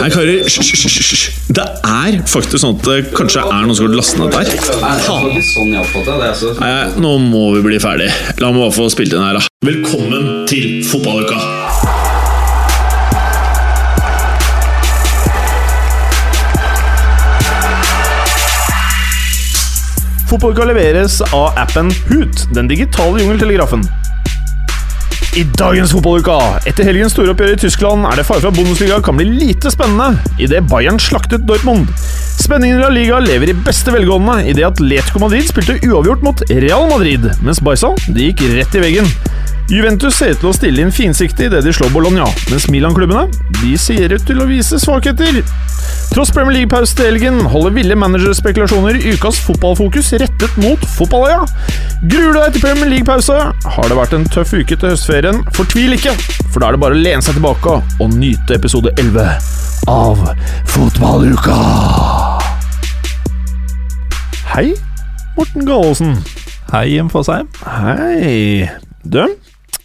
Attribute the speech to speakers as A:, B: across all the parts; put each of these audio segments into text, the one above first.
A: Nei, karer, hysj, hysj, hysj, hysj. Det er faktisk sånn at det kanskje er noen som har lastet ned der.
B: Nei, det var ikke sånn jeg oppfattet det. Altså.
A: Nei, nå må vi bli ferdig. La meg bare få spilt inn her, da. Velkommen til fotballuka!
C: Fotballuka leveres av appen Hoot, den digitale jungeltelegrafen. I dagens fotballuka, etter helgens store oppgjør i Tyskland, er det fare for at Bundesliga kan bli lite spennende idet Bayern slaktet Dortmund. Spenningen i La Liga lever i beste velgående idet Atletico Madrid spilte uavgjort mot Real Madrid, mens Barca de gikk rett i veggen. Juventus ser ut til å stille inn finsiktig idet de slår Bologna, mens Milan-klubbene de ser ut til å vise svakheter. Tross Premier League-pause til helgen holder ville managerspekulasjoner ukas fotballfokus rettet mot fotballøya. Gruer du deg til Premier League-pause? Har det vært en tøff uke til høstferien? Fortvil ikke, for da er det bare å lene seg tilbake og nyte episode 11 av Fotballuka. Hei, Morten Gallosen.
D: Hei, Jim Fosheim.
C: Hei. Du,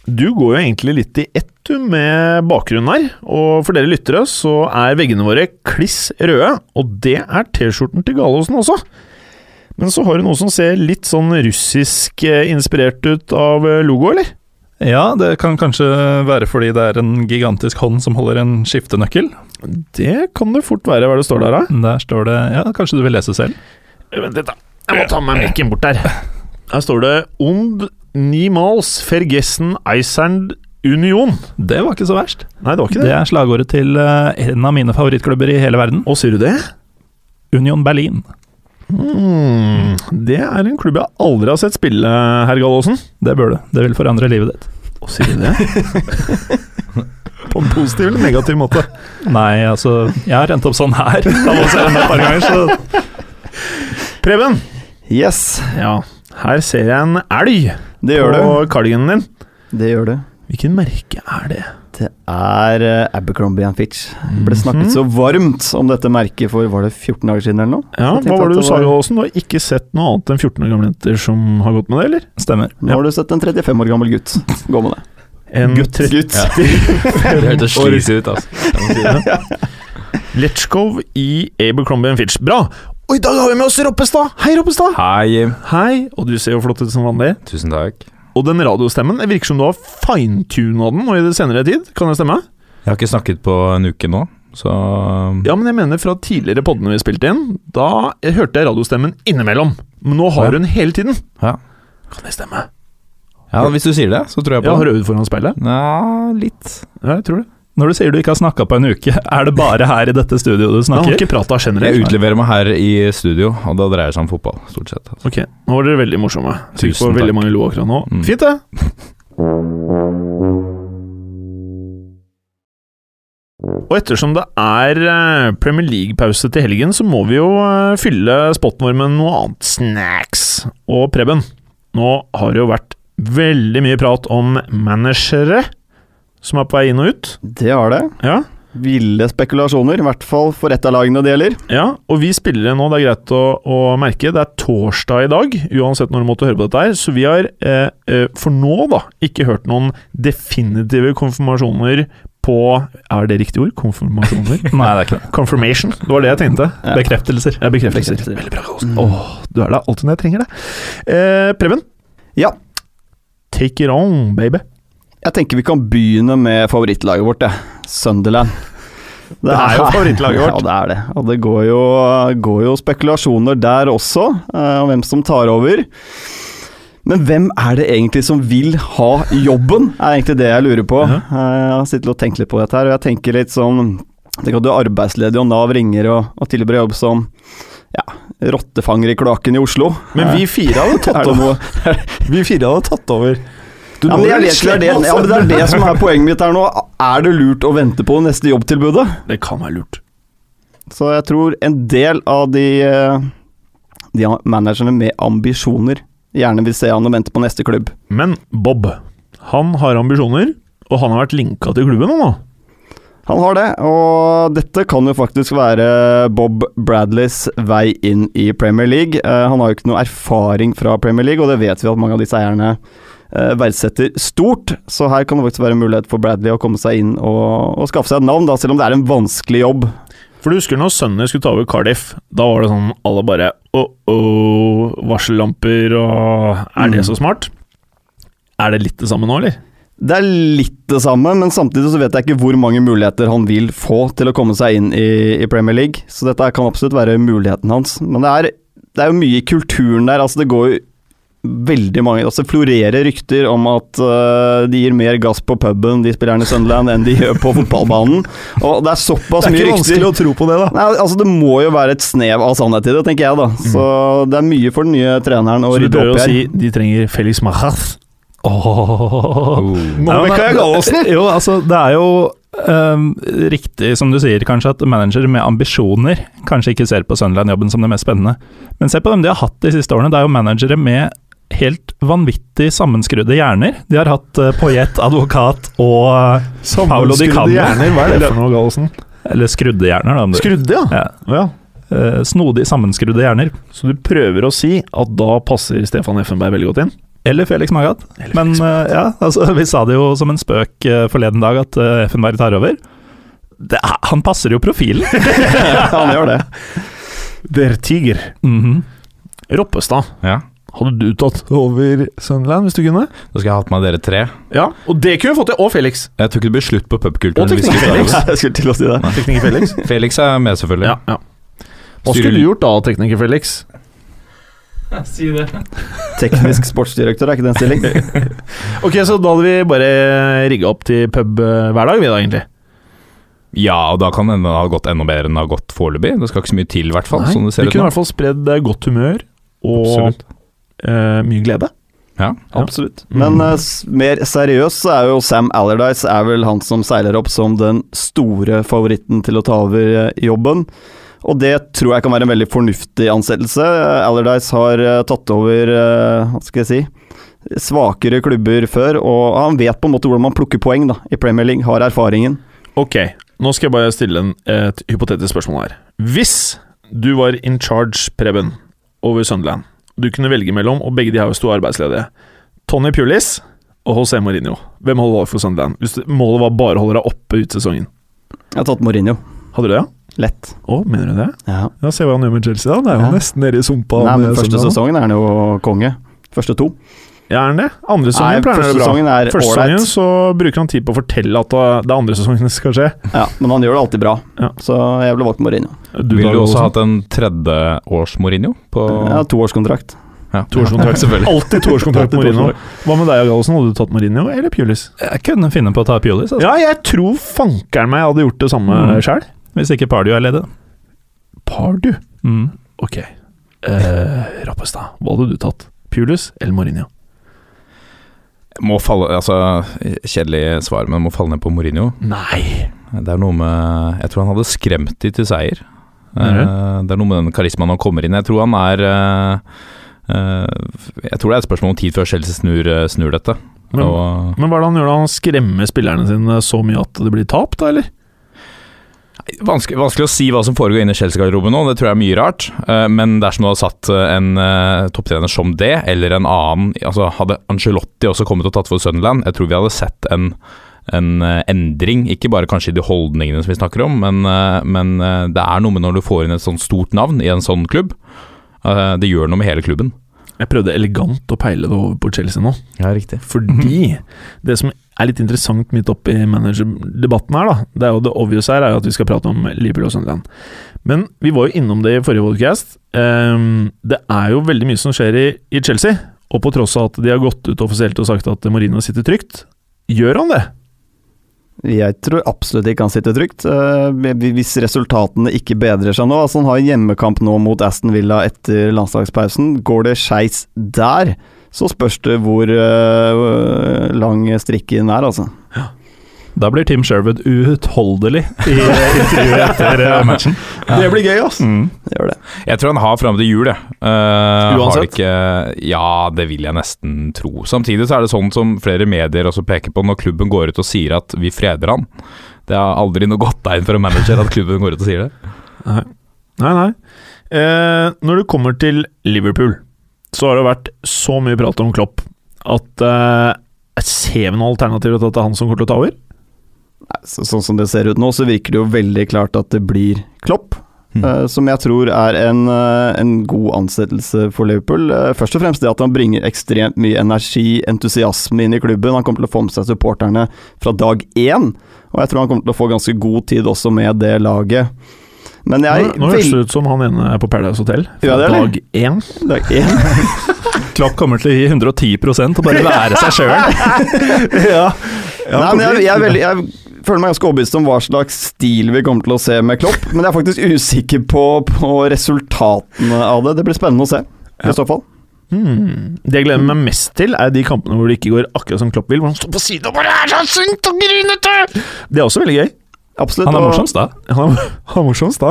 C: du går jo egentlig litt i ett du, med bakgrunnen her. Og for dere lyttere så er veggene våre kliss røde, og det er T-skjorten til Galåsen også. Men så har du noe som ser litt sånn russisk eh, inspirert ut av eh, logo, eller?
D: Ja, det kan kanskje være fordi det er en gigantisk hånd som holder en skiftenøkkel.
C: Det kan det fort være, hva det står der, da.
D: Der står det Ja, kanskje du vil lese selv?
C: Vent litt, da. Jeg må ta med mikken bort der. Her står det Ond Nimals Fergessen Eisern Union.
D: Det var ikke så verst.
C: Nei, det var ikke
D: Det
C: det.
D: er slagordet til eh, en av mine favorittklubber i hele verden,
C: Å, sier du det?
D: Union Berlin.
C: Hmm, det er en klubb jeg aldri har sett spille, herr Gallaasen.
D: Det bør du. Det vil forandre livet ditt.
C: Å, sier du det? På en positiv eller negativ måte?
D: Nei, altså Jeg har rent opp sånn her. Da må jeg se den et par ganger, så
C: Preben!
E: Yes,
C: Ja, her ser jeg en elg på
E: det gjør du.
C: kardiganen din.
E: Det gjør du.
C: Hvilken merke er det?
E: Det er eh, Abercrombie and Fitch. Det ble
C: Mhm.
E: snakket så varmt om dette merket for var det 14 dager siden eller noe?
C: Ja,
E: Så jeg tenkte
C: Hva var
E: at
C: det du
E: det
C: sa,
E: var-
C: Gallaasen? Du har ikke sett noe annet enn 14 år gamle jenter som har gått med det, eller?
D: Stemmer.
E: Nå har du sett en 35 år gammel gutt gå med det.
C: En
E: Gutt.
C: tre-
E: gutt.
F: Det hørtes sleazy ut, altså.
C: Letchkov i Abercrombie Fitch. Bra! Og i dag har vi med oss Roppestad. Hei, Roppestad!
F: Hei, Jim.
C: Hei, og du ser jo flott ut som vanlig.
F: Tusen takk.
C: Og den radiostemmen, det virker som du har fintuna den nå i det senere tid, kan det stemme?
F: Jeg har ikke snakket på en uke nå, så
C: Ja, men jeg mener fra tidligere poddene vi spilte inn, da hørte jeg radiostemmen innimellom. Men nå har
F: Ja.
C: hun hele tiden.
F: Ja.
C: Kan det stemme?
F: Ja, hvis du sier det, så tror jeg
C: Jeg
F: på
C: har
F: det.
C: øvd foran speilet.
F: Ja, litt.
C: Ja, jeg tror det.
D: Når du sier du ikke har snakka på en uke, er det bare her i dette studioet du
C: Men han har
D: snakker?
C: ikke prata
F: Jeg
C: generelt.
F: utleverer meg her i studio, og da dreier det seg om fotball, stort sett. Altså.
C: Ok, nå var dere veldig morsomme. Sikkert på
F: Tusen
C: veldig
F: takk.
C: mange lo akkurat nå.
F: Mm.
C: Fint, det. Og ettersom det er eh, Premier League-pause til helgen, så må vi jo eh, fylle spotten vår med noe annet snacks. Og Preben, nå har det jo vært veldig mye prat om managere som er på vei inn og ut.
E: Det har det.
C: Ja,
E: Ville spekulasjoner, i hvert fall for ett av lagene det gjelder.
C: ja og vi spillere nå, det er greit å, å merke, det er torsdag i dag, uansett når du måtte høre på dette her, så vi har eh, eh, for nå da ikke hørt noen definitive konfirmasjoner på Er det riktig ord? Konfirmasjoner?
D: Nei, det er ikke det.
C: Confirmation, det var det jeg tenkte.
D: Bekreftelser.
C: Ja, bekreftelser.
E: Bekreftelser.
C: Veldig bra, Galsen. Åh, du er der alltid når jeg trenger det. Eh, Preben,
E: Ja,
C: take it on, baby.
E: jeg tenker vi kan begynne med favorittlaget vårt, jeg. Sunderland.
C: Det er jo favorittlaget vårt.
E: Ja, det er det. Og det går jo, går jo spekulasjoner der også, eh, om hvem som tar over. Men hvem er det egentlig som vil ha jobben, er egentlig det jeg lurer på.
C: Mhm.
E: Eh, Jeg har sittet og tenkt litt på dette her, og jeg tenker litt sånn Tenk at du er arbeidsledig, og Nav ringer og, og tilbyr deg jobb som ja, rottefanger i kloakken i Oslo. Eh,
C: Men vi fire hadde
E: Er
C: tatt
E: det
C: over.
E: noe
C: Vi fire hadde tatt over. Du,
E: ja,
C: nå
E: men
C: er
E: jeg
C: du
E: vet, det, er det,
C: slem,
E: ja, men det
C: altså.
E: er det som er poenget mitt her nå. Er det lurt å vente på det neste jobbtilbudet?
C: Det kan være lurt.
E: Så jeg tror en del av de, eh, de managerne med ambisjoner gjerne vil se han og vente på neste klubb.
C: Men Bob, han har ambisjoner, og han har vært linka til klubben nå. nå.
E: Han har det, og dette kan jo faktisk være Bob Bradleys vei inn i Premier League. Eh, Han har jo ikke noe erfaring fra Premier League, og det vet vi at mange av disse eierne eh, verdsetter stort, så her kan det faktisk være en mulighet for Bradley å komme seg inn og, og skaffe seg et navn, da, selv om det er en vanskelig jobb.
C: For du husker når Sunner skulle ta over Cardiff? Da var det sånn alle bare oh-oh, varsellamper og Er det så smart? Er det litt det samme nå, eller?
E: Det er litt det samme, men samtidig så vet jeg ikke hvor mange muligheter han vil få til å komme seg inn i, i Premier League, så dette kan absolutt være muligheten hans. Men det er, det er jo mye i kulturen der, altså det går jo veldig mange altså Det florerer rykter om at øh, de gir mer gass på puben, de spillerne i Sunderland, enn de gjør på fotballbanen. Og det er såpass mye rykter.
C: å tro på det, da.
E: Nei, altså Det må jo være et snev av sannhet i det, tenker jeg. da Så det er mye for den nye treneren
C: Mm.
E: å
C: Så du
E: rydde
C: prøver å
E: opp i. her.
C: si de trenger Felix Majas? Oh.
F: Uh,
D: Nei, men-
C: Mikael Gallosen.
D: Jo, altså, det er jo ehm, riktig som du sier, kanskje at manager med ambisjoner kanskje ikke ser på Sunderland-jobben som det mest spennende. Men se på hvem de har hatt de siste årene. Det er jo managere med helt vanvittig sammenskrudde hjerner. De har hatt uh, Poyet, advokat og eh, Paolo Di Canio.
C: hjerner, hva er det for noe, Gallosen?
D: Eller skrudde hjerner, da. om du-
C: Skrudde, ja.
D: Ja.
C: ja.
D: Eh, snodig sammenskrudde hjerner.
C: Så du prøver å si at da passer Stefan Effenberg veldig godt inn?
D: Eller Felix Magath. Men eh, ja, altså, vi sa det jo som en spøk eh, forleden dag at eh, Effenberg tar over. Det er, han passer jo profilen!
E: Han gjør det.
C: Der Tiger.
D: Mhm.
C: Roppestad,
F: Ja.
C: hadde du tatt over Sunderland hvis du kunne?
F: Da skal jeg ha hatt med dere tre.
C: Ja, og det kunne vi fått til. Og Felix.
F: Jeg tok ikke beslutt på
C: Og
F: pubkulturen. hvis
C: tekniker
F: vi tar
C: Felix.
F: over.
E: Jeg skulle til å si det.
C: Tekniker Felix.
F: Felix er med, selvfølgelig.
C: Ja, ja. Hva skulle du gjort da, tekniker Felix?
B: Si det.
E: Teknisk sportsdirektør, er ikke det en stilling?
C: Ok, så da hadde vi bare rigga opp til pub eh, hver dag, vi da, egentlig.
F: Ja, og da kan det ha gått enda bedre enn det har gått foreløpig. Det skal ikke så mye til, i hvert fall.
C: Nei,
F: sånn det
C: vi
F: ser ut
C: kunne i
F: nå.
C: hvert fall spredd eh, godt humør og
F: Absolutt.
C: eh, mye glede. Ja.
E: Absolutt. Men eh, s- mer seriøs så er jo Sam Allardyce er vel han som seiler opp som den store favoritten til å ta over eh, jobben. Og det tror jeg kan være en veldig fornuftig ansettelse. Eh, Allardyce har eh, tatt over eh, hva skal jeg si svakere klubber før, og han vet på en måte hvordan man plukker poeng da, i Premier League, har erfaringen.
C: Ok, nå skal jeg bare stille en, et hypotetisk spørsmål her. Hvis du var in charge, Preben, over Sunderland Du kunne velge mellom, og begge de her sto arbeidsledige. Tony Pulis og José Mourinho. Hvem holder valg for Sunderland? Hvis det- målet var bare å holde deg oppe ut sesongen.
E: Jeg har tatt Mourinho.
C: Hadde du det?
E: Lett.
C: Å, mener du det?
E: Ja.
C: Ja, Se hva han gjør med Chelsea, da. Han er
E: jo Ja.
C: nesten nede i sumpa.
E: Nei, men første sesongen er han jo konge. Første to.
C: Ja, er han det? Andre
E: Nei,
C: sesongen pleier han å
E: første
C: gjøre bra.
E: sesongen er
C: Første sesongen
E: ålreit.
C: så bruker han tid på å fortelle at uh, det er andre sesongen skal skje.
E: Ja, men han gjør det alltid bra.
C: Ja.
E: Så jeg ville valgt Mourinho.
C: Du, sånn. Dag
F: Vil du også
C: Olsen?
F: ha hatt en tredjeårs Mourinho? På,
E: Ja, Toårskontrakt.
F: ja.
C: Toårskontrakt,
F: selvfølgelig.
C: Alltid toårskontrakt med Mourinho. Hva med deg, Gallosen? Hadde du tatt Mourinho eller Pulis?
D: Jeg kunne finne på å ta Pjolis, altså.
C: Ja, jeg tror fankeren meg hadde gjort det samme
D: Mm.
C: sjøl.
D: hvis ikke Pardio er ledig.
C: Pardu.
D: Mm.
C: Ok. Eh, Rappestad, hva hadde du tatt? Pulis eller Mourinho?
F: Må falle, altså, kjedelig svar, men må falle ned på Mourinho.
C: Nei
F: Det er noe med Jeg tror han hadde skremt de til seier.
C: Mhm.
F: Eh, Det er noe med den karismaen han kommer inn i. Jeg tror han er eh, eh, Jeg tror det er et spørsmål om tid før Chelsea snur, eh, snur dette.
C: Men-
F: og,
C: Men hva er det han gjør da? Han skremmer spillerne sine så mye at det blir tap, da, eller?
F: vanskelig, vanskelig å si hva som foregår inne i Chelsea-garderoben nå, det tror jeg er mye rart. Eh, Men dersom du hadde satt eh, en eh, topptrener som det, eller en annen altså Hadde Angelotti også kommet og tatt for Sunderland, jeg tror vi hadde sett en en eh, endring, ikke bare kanskje i de holdningene som vi snakker om, men, eh, men eh, det er noe med når du får inn et sånt stort navn i en sånn klubb. eh, Det gjør noe med hele klubben.
C: Jeg prøvde elegant å peile det over på Chelsea nå.
F: Ja, riktig.
C: Fordi det som er litt interessant midt oppi managerdebatten her, da, det er jo det obvious her, er jo at vi skal prate om Liverpool og Sunderland. Men vi var jo innom det i forrige podcast. Ehm, det er jo veldig mye som skjer i, i Chelsea, og på tross av at de har gått ut offisielt og sagt at Mourinho sitter trygt, gjør han det?
E: Jeg tror absolutt ikke han sitter trygt. eh, Hvis resultatene ikke bedrer seg nå Altså Han har en hjemmekamp nå mot Aston Villa etter landslagspausen. Går det skeis der, så spørs det hvor eh, lang strikken er, altså.
D: Da blir Tim Sherwood uutholdelig i eh, intervjuet etter eh, matchen.
E: Det blir gøy, altså!
D: Mm.
E: Det gjør det.
F: Jeg tror han har fram til jul, jeg.
C: Uansett?
F: Uansett? Har ikke, ja, det vil jeg nesten tro. Samtidig så er det sånn som flere medier også peker på, når klubben går ut og sier at vi freder han. Det har aldri noe godt tegn for en manager at klubben går ut og sier det.
C: Nei, nei. Eh, når det kommer til Liverpool, så har det vært så mye prat om Klopp at eh, Ser vi noen alternativer til at det er han som kommer til å ta over?
E: Nei, så, sånn som det ser ut nå, så virker det jo veldig klart at det blir Klopp.
F: Mm.
E: eh, som jeg tror er en, eh, en god ansettelse for Liverpool. Eh, først og fremst det at han bringer ekstremt mye energi, entusiasme inn i klubben. Han kommer til å få med seg supporterne fra dag én, og jeg tror han kommer til å få ganske god tid også med det laget. Men jeg
C: Nå, nå høres det ut som han ene er på Paradise Hotel.
E: Ja, det er det.
C: dag én.
E: Dag én.
D: Klopp kommer til å gi 110 og bare være seg sjøl.
E: ja. Nei, men jeg, jeg, er veldig, jeg føler meg ganske overbevist om hva slags stil vi kommer til å se med Klopp, men jeg er faktisk usikker på, på resultatene av det. Det blir spennende å se, i så fall.
C: Hmm. Det jeg gleder meg mest til, er de kampene hvor det ikke går akkurat som Klopp vil. Hvor han står på siden og bare er så sunt og grinete! Det er også veldig gøy.
E: Absolutt.
D: Han er
E: og-
D: morsomst, da.
C: Han er, han er morsomst da.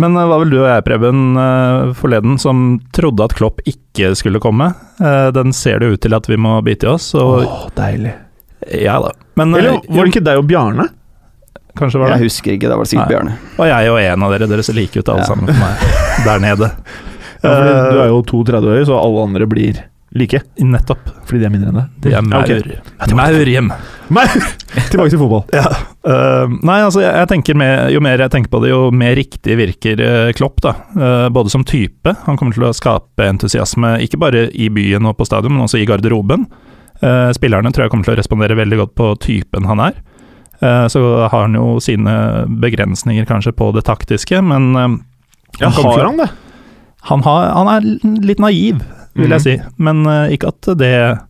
D: Men eh, var vel du og jeg, Preben, eh, forleden som trodde at Klopp ikke skulle komme? Eh, Den ser det ut til at vi må bite i oss, og
C: deilig.
D: ja da. Men eh,
C: Eller var det ikke deg og Bjarne?
D: kanskje var
E: Jeg
D: det
E: husker ikke, det var sikkert
D: Nei.
E: Bjarne.
D: Og jeg og en av dere. Dere ser like ut alle
E: Ja.
D: sammen for meg der nede.
C: Ja,
E: Eh.
C: fordi du er jo to 30-åringer, så alle andre blir like.
D: Eh, Nettopp.
C: Fordi de er mindre enn deg.
D: De er
C: Ja, ok.
D: maur. Maur hjem.
C: Tilbake til fotball.
D: Eh, nei, altså jeg, jeg tenker mer- Jo mer jeg tenker på det, jo mer riktig virker eh, Klopp. da Eh, Både som type, han kommer til å skape entusiasme ikke bare i byen og på stadion, men også i garderoben. Eh, spillerne tror jeg kommer til å respondere veldig godt på typen han er. Eh, så har han jo sine begrensninger kanskje på det taktiske, men eh,
C: Ja,
D: kommer til
C: har
D: å-
C: han det?
D: han, har, han er litt naiv, vil
C: Mhm.
D: jeg si. Men eh, ikke at det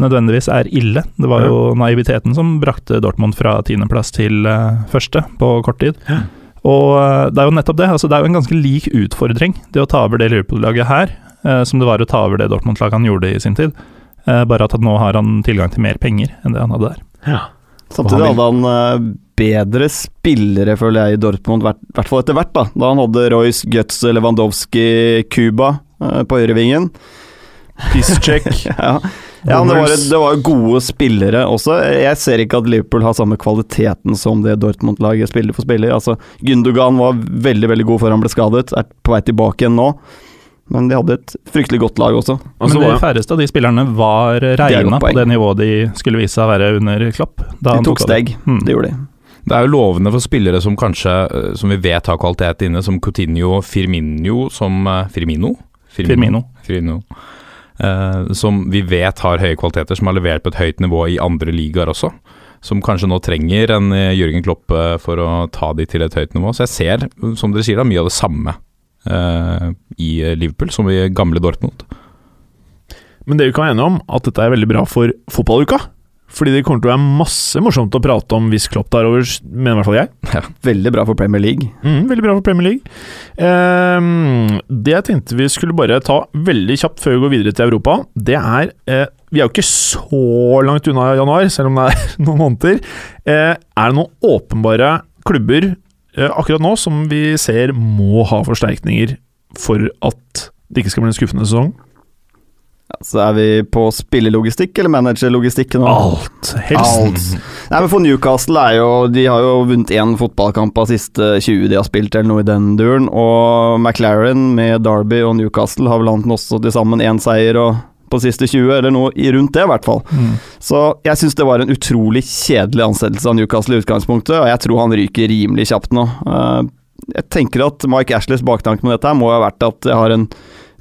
D: nødvendigvis er ille. Det var jo naiviteten som brakte Dortmund fra tiendeplass til eh, første på kort tid.
C: Ja.
D: Og eh, det er jo nettopp det. Altså, det er jo en ganske lik utfordring, det å ta over det Liverpool-laget her, eh, som det var å ta over det Dortmund-laget han gjorde i sin tid. Eh, bare at nå har han tilgang til mer penger enn det han hadde der.
E: Samtidig hadde han eh, bedre spillere, føler jeg, i Dortmund, i hvert fall etter hvert. Da Da han hadde Royce, Götz, Lewandowski, Cuba eh, på høyrevingen.
C: Pisscheck.
E: Ja. Ja, men det var, det var gode spillere også. Jeg ser ikke at Liverpool har samme kvaliteten som det Dortmund-laget spiller for spiller. Altså, Gündogan var veldig veldig god før han ble skadet, er på vei tilbake igjen nå. Men de hadde et fryktelig godt lag også.
C: Altså,
D: Men de
C: var-
D: færreste av de spillerne var
E: er godt
D: regna på
E: poeng.
D: det nivået de skulle vise seg å være under Klopp. da
E: De
D: han
E: tok
D: over.
E: steg,
D: Mm.
E: det gjorde de.
F: Det er jo lovende for spillere som kanskje eh, Som vi vet har kvalitet inne, som Coutinho, Firmino som eh, Firmino?
D: Firmino.
F: Firmino. Eh, som vi vet har høye kvaliteter, som har levert på et høyt nivå i andre ligaer også. Som kanskje nå trenger en eh, Jørgen Klopp eh, for å ta de til et høyt nivå. Så jeg ser, som dere sier, da, mye av det samme eh, i eh, Liverpool som i gamle Dortmund.
C: Men det vi kan være enige om, at dette er veldig bra for fotballuka. Fordi det kommer til å være masse morsomt å prate om hvis Klopp tar over, mener i hvert fall jeg.
E: Veldig bra for Premier League.
C: Mm, veldig bra for Premier League. Ehm, det jeg tenkte vi skulle bare ta veldig kjapt før vi går videre til Europa, det er eh, Vi er jo ikke så langt unna januar, selv om det er noen måneder. Eh, er det noen åpenbare klubber eh, akkurat nå som vi ser må ha forsterkninger for at det ikke skal bli en skuffende sesong?
E: Ja, så Altså, er vi på spillelogistikk eller managerlogistikk nå?
C: Alt, helst.
E: Nei, men for Newcastle er jo De har jo vunnet én fotballkamp av siste 20 de har spilt, eller noe i den duren. Og McLaren med Derby og Newcastle har vel anten også til sammen én seier og på siste 20, eller noe i rundt det, i hvert fall. Så jeg syns det var en utrolig kjedelig ansettelse av Newcastle i utgangspunktet, og jeg tror han ryker rimelig kjapt nå. Eh, Jeg tenker at Mike Ashleys baktanke med dette her må ha vært at jeg har en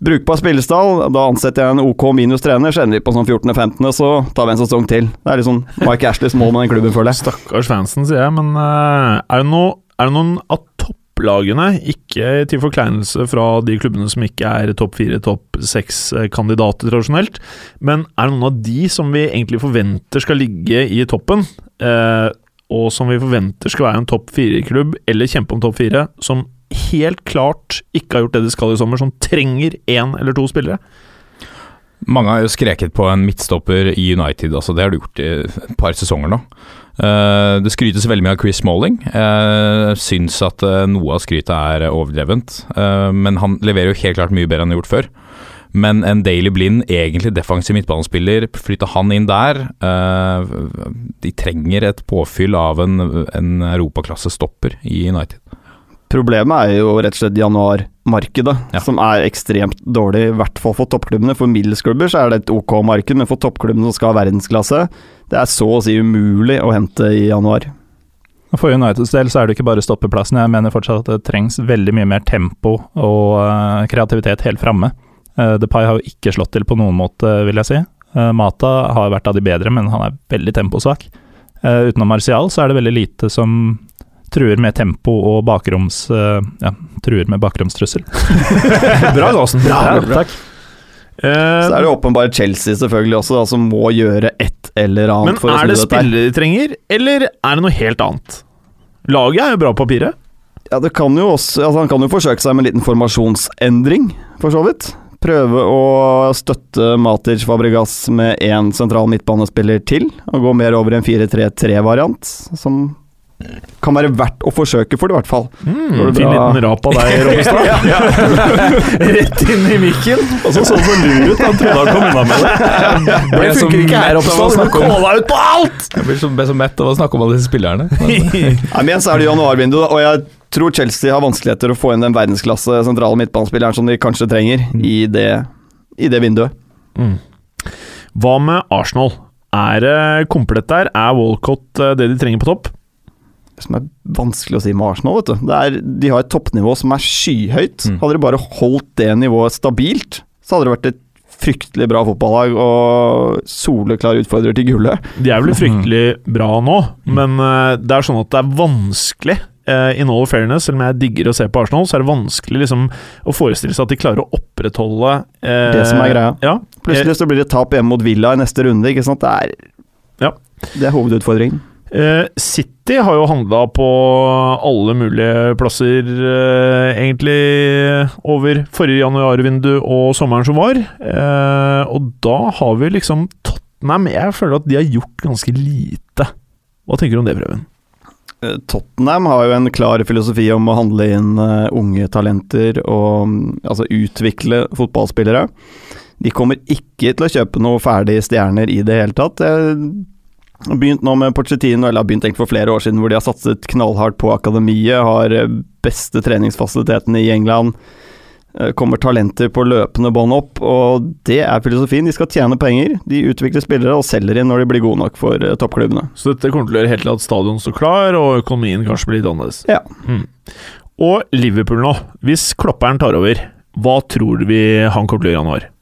E: brukbar spillestall. Da ansetter jeg en OK minus trener, så ender vi på sånn 14.-15., så tar vi en sesong til. Det er liksom Mike Ashleys mål med den klubben, føler jeg.
C: Stakkars fansen, sier jeg, men eh, er, det noe, er det noen av topplagene, ikke til forkleinelse fra de klubbene som ikke er topp fire, topp seks-kandidater tradisjonelt, men er det noen av de som vi egentlig forventer skal ligge i toppen, eh, og som vi forventer skal være en topp fire-klubb, eller kjempe om topp fire, som helt klart ikke har gjort det de skal i sommer, som trenger én eller to spillere?
F: Mange har jo skreket på en midtstopper i United, altså det har du gjort i et par sesonger nå. Eh, det skrytes veldig mye av Chris Smalling. Uh, syns at eh, noe av skrytet er overdrevent, eh, men han leverer jo helt klart mye bedre enn han har gjort før. Men en Daily Blind, egentlig defensiv midtbanespiller, flytter han inn der. eh, de trenger et påfyll av en, en europaklassestopper i United.
E: Problemet er jo rett og slett januarmarkedet,
F: Ja.
E: som er ekstremt dårlig, i hvert fall for toppklubbene. For middels klubber så er det et OK marked, men for toppklubbene som skal ha verdensklasse, det er så å si umulig å hente i januar.
D: For Uniteds del så er det ikke bare stoppeplassen. Jeg mener fortsatt at det trengs veldig mye mer tempo og eh, kreativitet helt framme. Uh, Depay har jo ikke slått til på noen måte, vil jeg si. Eh, Mata har vært av de bedre, men han er veldig temposvak. Eh, utenom Martial så er det veldig lite som truer med tempo og bakroms... eh, ja, truer med bakromstrussel.
C: Bra, Larsen.
E: Bra, bra.
C: takk. Eh,
E: Så er det åpenbart Chelsea selvfølgelig også, da, som må gjøre et eller annet
C: men
E: for å
C: er
E: snu
C: det
E: dette. her.
C: spillere de trenger, eller er det noe helt annet? Laget er jo bra på papiret.
E: Ja, det kan jo også, altså han kan jo forsøke seg med en liten formasjonsendring, for så vidt. Prøve å støtte Matic Fabregas med én sentral midtbanespiller til, og gå mer over i en 4-3-3-variant, som kan være verdt å forsøke for det, i hvert fall.
C: Mm, fin
E: bra.
C: liten rap av deg, Robbestad. Rett inn i mikken. Og Altså, så så så lur ut. Han trodde han kom unna med det.
F: ble som mett av å
C: Robbestad. Du
F: snakke om-
C: kåla ut på alt!
F: Jeg blir så, ble så mett av å snakke om alle disse spillerne.
E: Nei, men igjen så er det januarvindu, og jeg tror Chelsea har vanskeligheter å få inn den verdensklasse sentrale midtbanespilleren som de kanskje trenger, i det, i det vinduet.
C: Mm. Hva med Arsenal? Er det komplett der? Er Walcott eh, det de trenger på topp?
E: det som er vanskelig å si med Arsenal. Vet du. Det er, de har et toppnivå som er skyhøyt.
F: Mm.
E: Hadde de bare holdt det nivået stabilt, så hadde det vært et fryktelig bra fotballag og soleklar utfordrer til gullet.
C: De er vel fryktelig bra nå,
E: Mm.
C: men eh, det er sånn at det er vanskelig eh, In all fairness, selv om jeg digger å se på Arsenal, så er det vanskelig liksom, å forestille seg at de klarer å opprettholde eh,
E: Det som er greia.
C: Ja,
E: Plutselig så blir det tap hjemme mot Villa i neste runde. Ikke sant? Det, er,
C: Ja.
E: det er hovedutfordringen.
C: Eh, City har jo handla på alle mulige plasser, eh, egentlig, over forrige januarvindu og sommeren som var. Eh, og da har vi liksom Tottenham Jeg føler at de har gjort ganske lite. Hva tenker du om det, Prøven?
E: Eh, Tottenham har jo en klar filosofi om å handle inn eh, unge talenter og mm, altså utvikle fotballspillere. De kommer ikke til å kjøpe noe ferdige stjerner i det hele tatt. Jeg har begynt nå med Pochettino, eller har begynt egentlig for flere år siden, hvor de har satset knallhardt på akademiet, har eh, beste treningsfasilitetene i England. Eh, Kommer talenter på løpende bånd opp, og det er filosofien. De skal tjene penger, de utvikler spillere og selger inn når de blir gode nok for eh, toppklubbene.
C: Så dette kommer til å gjøre helt til at stadion står klar, og økonomien kanskje blir litt annerledes.
E: Ja.
C: Mm. Og Liverpool nå. Hvis klopperen tar over, hva tror vi han kommer til å gjøre i januar?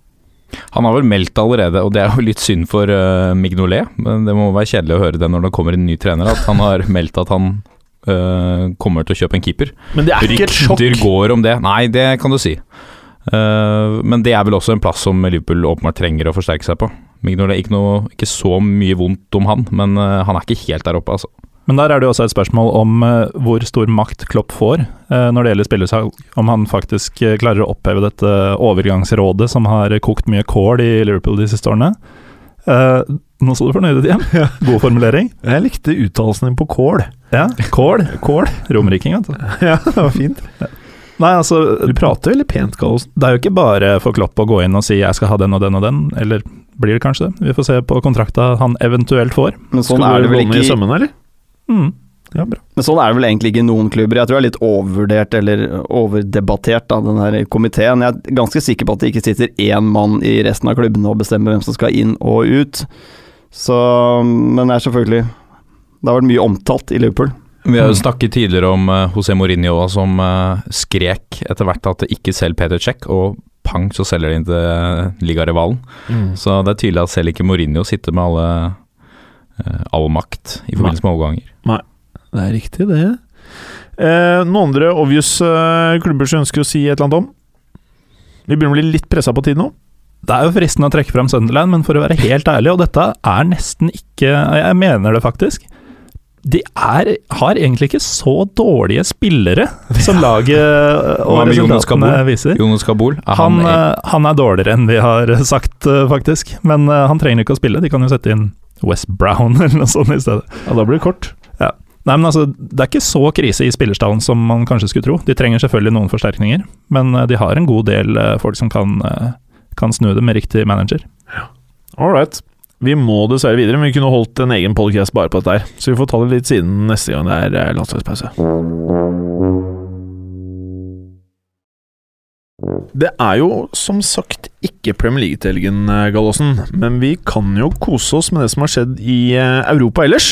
F: Han har vel meldt allerede, og det er jo litt synd for eh, Mignolet. Men det må være kjedelig å høre det når det kommer en ny trener, at han har meldt at han eh, kommer til å kjøpe en keeper.
C: Men det er ikke et sjokk.
F: Rykter går om det. Nei, det kan du si. Eh, men det er vel også en plass som Liverpool åpenbart trenger å forsterke seg på. Mignolet ikke, noe, ikke så mye vondt om han, men eh, han er ikke helt der oppe, altså.
D: Men der er det jo også et spørsmål om eh, hvor stor makt Klopp får eh, når det gjelder spillersalg. Om han faktisk eh, klarer å oppheve dette overgangsrådet som har kokt mye kål i Liverpool de siste årene. Eh, nå så du fornøyd ut igjen. God formulering.
C: Jeg likte uttalelsen din på kål.
D: Ja, Kål, kål. Romeriking, vet du.
C: Ja, det var fint.
D: Nei, altså,
C: Du prater veldig pent, Gallosen.
D: det er jo ikke bare for Klopp å gå inn og si 'jeg skal ha den og den og den', eller blir det kanskje det? Vi får se på kontrakta han eventuelt får.
E: Men sånn er det vel ikke
C: i sømmene, eller?
D: Mm.
C: Ja, bra.
E: Men sånn er det vel egentlig ikke i noen klubber. Jeg tror det er litt overvurdert eller overdebattert av den her komiteen. Jeg er ganske sikker på at det ikke sitter én mann i resten av klubbene og bestemmer hvem som skal inn og ut. Så Men det er selvfølgelig Det har vært mye omtalt i Liverpool.
F: Vi har jo snakket tidligere om eh, José Mourinho som eh, skrek etter hvert at ikke selg Peter Cech, og pang, så selger de inn til eh, ligarivalen.
C: Mm.
F: Så det er tydelig at selv ikke Mourinho sitter med alle eh, all makt i forbindelse med overganger.
C: Det er riktig, det. Eh, noen andre obvious eh, klubber som ønsker å si et eller annet om? Vi begynner å bli litt pressa på tid nå.
D: Det er jo fristende å trekke fram Sunderland, men for å være helt ærlig, og dette er nesten ikke Jeg mener det faktisk. De er, har egentlig ikke så dårlige spillere som laget eh, og
F: Hva med Jonas
D: resultatene
F: Kabul?
D: viser.
F: Jonas Kabul, er
D: Han,
F: han,
D: eh, han er dårligere enn vi har sagt, eh, faktisk. Men eh, han trenger ikke å spille, de kan jo sette inn West Brown eller noe sånt i stedet.
C: Ja, Da blir det kort.
D: Nei, men altså, Det er ikke så krise i spillerstallen som man kanskje skulle tro. De trenger selvfølgelig noen forsterkninger, men eh, de har en god del eh, folk som kan, eh, kan snu det med riktig manager.
C: All right. Vi må dessverre videre, men vi kunne holdt en egen podcast bare på dette her. Så vi får ta det litt siden neste gang det er eh, landslagspause. Det er jo som sagt ikke Premier League til helgen, eh, Gallosen, men vi kan jo kose oss med det som har skjedd i eh, Europa ellers.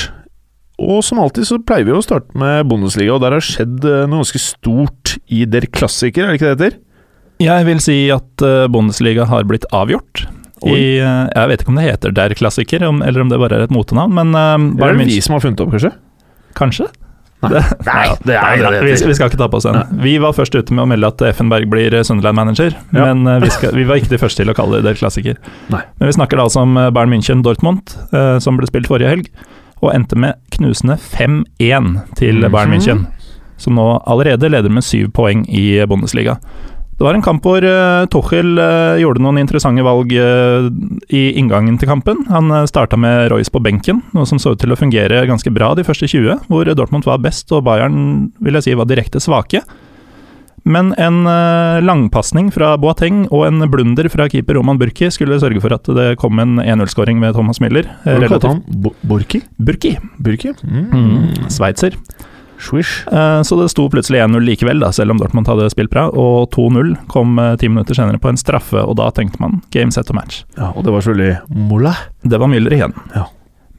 C: Og som alltid så pleier vi å starte med Bundesliga, og der har skjedd eh, noe ganske stort i Der Klassiker, er det ikke det det heter?
D: Jeg vil si at eh, Bundesliga har blitt avgjort. I, eh, jeg vet ikke om det heter Der Klassiker, om, eller om det bare er et motenavn, men eh,
C: Hva er
D: Bayern
C: det vi
D: München
C: som har funnet opp, kanskje?
D: Kanskje? Det- Neida, neida, vi, vi skal ikke ta på oss den. Vi var først ute med å melde at Effenberg blir eh, Sunderland-manager,
C: Ja.
D: men eh, vi, skal, vi var ikke de første til å kalle det Der Klassiker.
C: Nei.
D: Men vi snakker da altså om eh, Bayern München-Dortmund, eh, som ble spilt forrige helg, og endte med knusende 5-1 til
C: Mhm.
D: Bayern München, som nå allerede leder med syv poeng i Bundesliga. Det var en kamp hvor eh, Tuchel eh, gjorde noen interessante valg eh, i inngangen til kampen. Han eh, starta med Royce på benken, noe som så ut til å fungere ganske bra de første 20, hvor Dortmund var best og Bayern vil jeg si, var direkte svake. Men en eh, langpasning fra Boateng og en blunder fra keeper Roman Burki skulle sørge for at det kom en 1-0-skåring ved Thomas Müller. eh,
C: Hva kalte
D: relativt-
C: han Bo- Borki?
D: Burki,
C: Burki?
D: mm. sveitser.
C: Swish.
D: Eh, Så det sto plutselig 1-0 likevel, da, selv om Dortmund hadde spilt bra. Og 2-0 kom eh, ti minutter senere på en straffe, og da tenkte man game set og match.
C: Ja, og det var selvfølgelig Mola.
D: Det var Müller igjen.
C: Ja.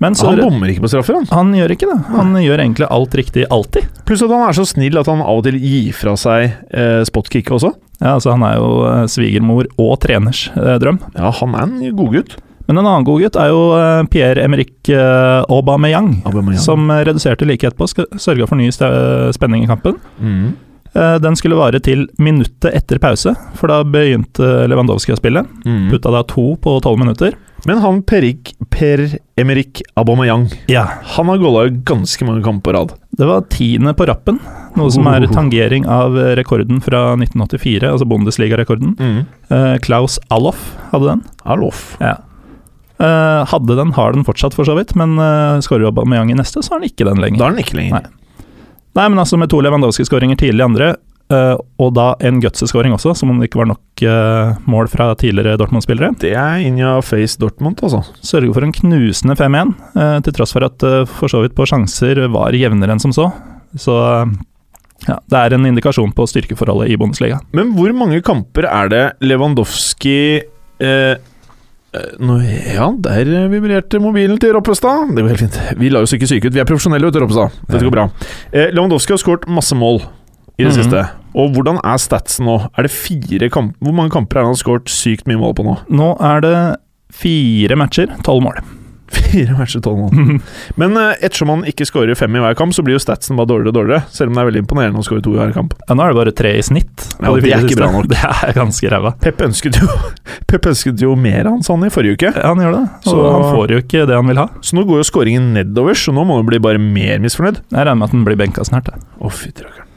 D: Men så
C: han bommer ikke på straffer, han.
D: han gjør ikke det. Han gjør egentlig alt riktig alltid.
C: Pluss at han er så snill at han av og til gir fra seg eh, spotkick også.
D: Ja, altså Han er jo eh, svigermor og treners eh, drøm.
C: Ja, han er en godgutt.
D: Men en annen godgutt er jo eh, Pierre-Emerick eh, Aubameyang, som eh, reduserte like etterpå, sk- sørga for ny sta- spenning i kampen.
C: mm.
D: Eh, Den skulle vare til minuttet etter pause, for da begynte Lewandowski å spille.
C: Mm.
D: Putta da to på tolv minutter.
C: Men han Perik, Per Emerick Aubameyang,
D: Ja,
C: han har golla ganske mange kamper på rad.
D: Det var tiende på rappen, noe som er tangering av eh, rekorden fra 1984, altså Bundesliga-rekorden.
C: Mm.
D: Eh, Klaus Allof hadde den.
C: Alof.
D: Eh, hadde den, har den fortsatt, for så vidt, men uh, skårer Aubameyang i neste, så har han ikke den lenger.
C: Da er han ikke lenger.
D: Nei. Nei, men altså med to Lewandowski-skåringer tidlig i andre, eh, og da en Gutse-skåring også, som om det ikke var nok eh, mål fra tidligere Dortmund-spillere.
C: Det er in your face Dortmund, altså.
D: Sørger for en knusende 5-1, eh, til tross for at eh, for så vidt på sjanser var jevnere enn som så. Så eh, ja, det er en indikasjon på styrkeforholdet i Bundesliga.
C: Men hvor mange kamper er det Lewandowski eh, eh, nå, Ja, der eh, vibrerte mobilen til Roppestad. Det går helt fint. Vi lar oss ikke syke ut. Vi er profesjonelle, vet du, Roppestad. Dette går bra. Eh, Lewandowski har skåret masse mål i det
D: Mhm.
C: siste. Og hvordan er statsen nå? Er det fire kamp Hvor mange kamper er det han har skåret sykt mye mål på nå?
D: Nå er det fire matcher, tolv mål.
C: Fire matcher, tolv
D: Mm.
C: mål. Men eh, ettersom han ikke skårer fem i hver kamp, så blir jo statsen bare dårligere og dårligere. Selv om det er veldig imponerende å skåre to i hver kamp.
D: Ja, nå er det bare tre i snitt. på
C: Ja,
D: de
C: det er
D: fire
C: ikke
D: siste.
C: bra nok.
D: Det er ganske ræva.
C: Pep ønsket jo, Pep ønsket jo mer av han, sa han i forrige uke.
D: Ja, han gjør det, og
C: Så-
D: han får jo ikke det han vil ha.
C: Så nå går jo skåringen nedover, så nå må han bli bare mer misfornøyd.
D: Jeg regner med at han blir benka snart. jeg.
C: Å, fytti rakkeren.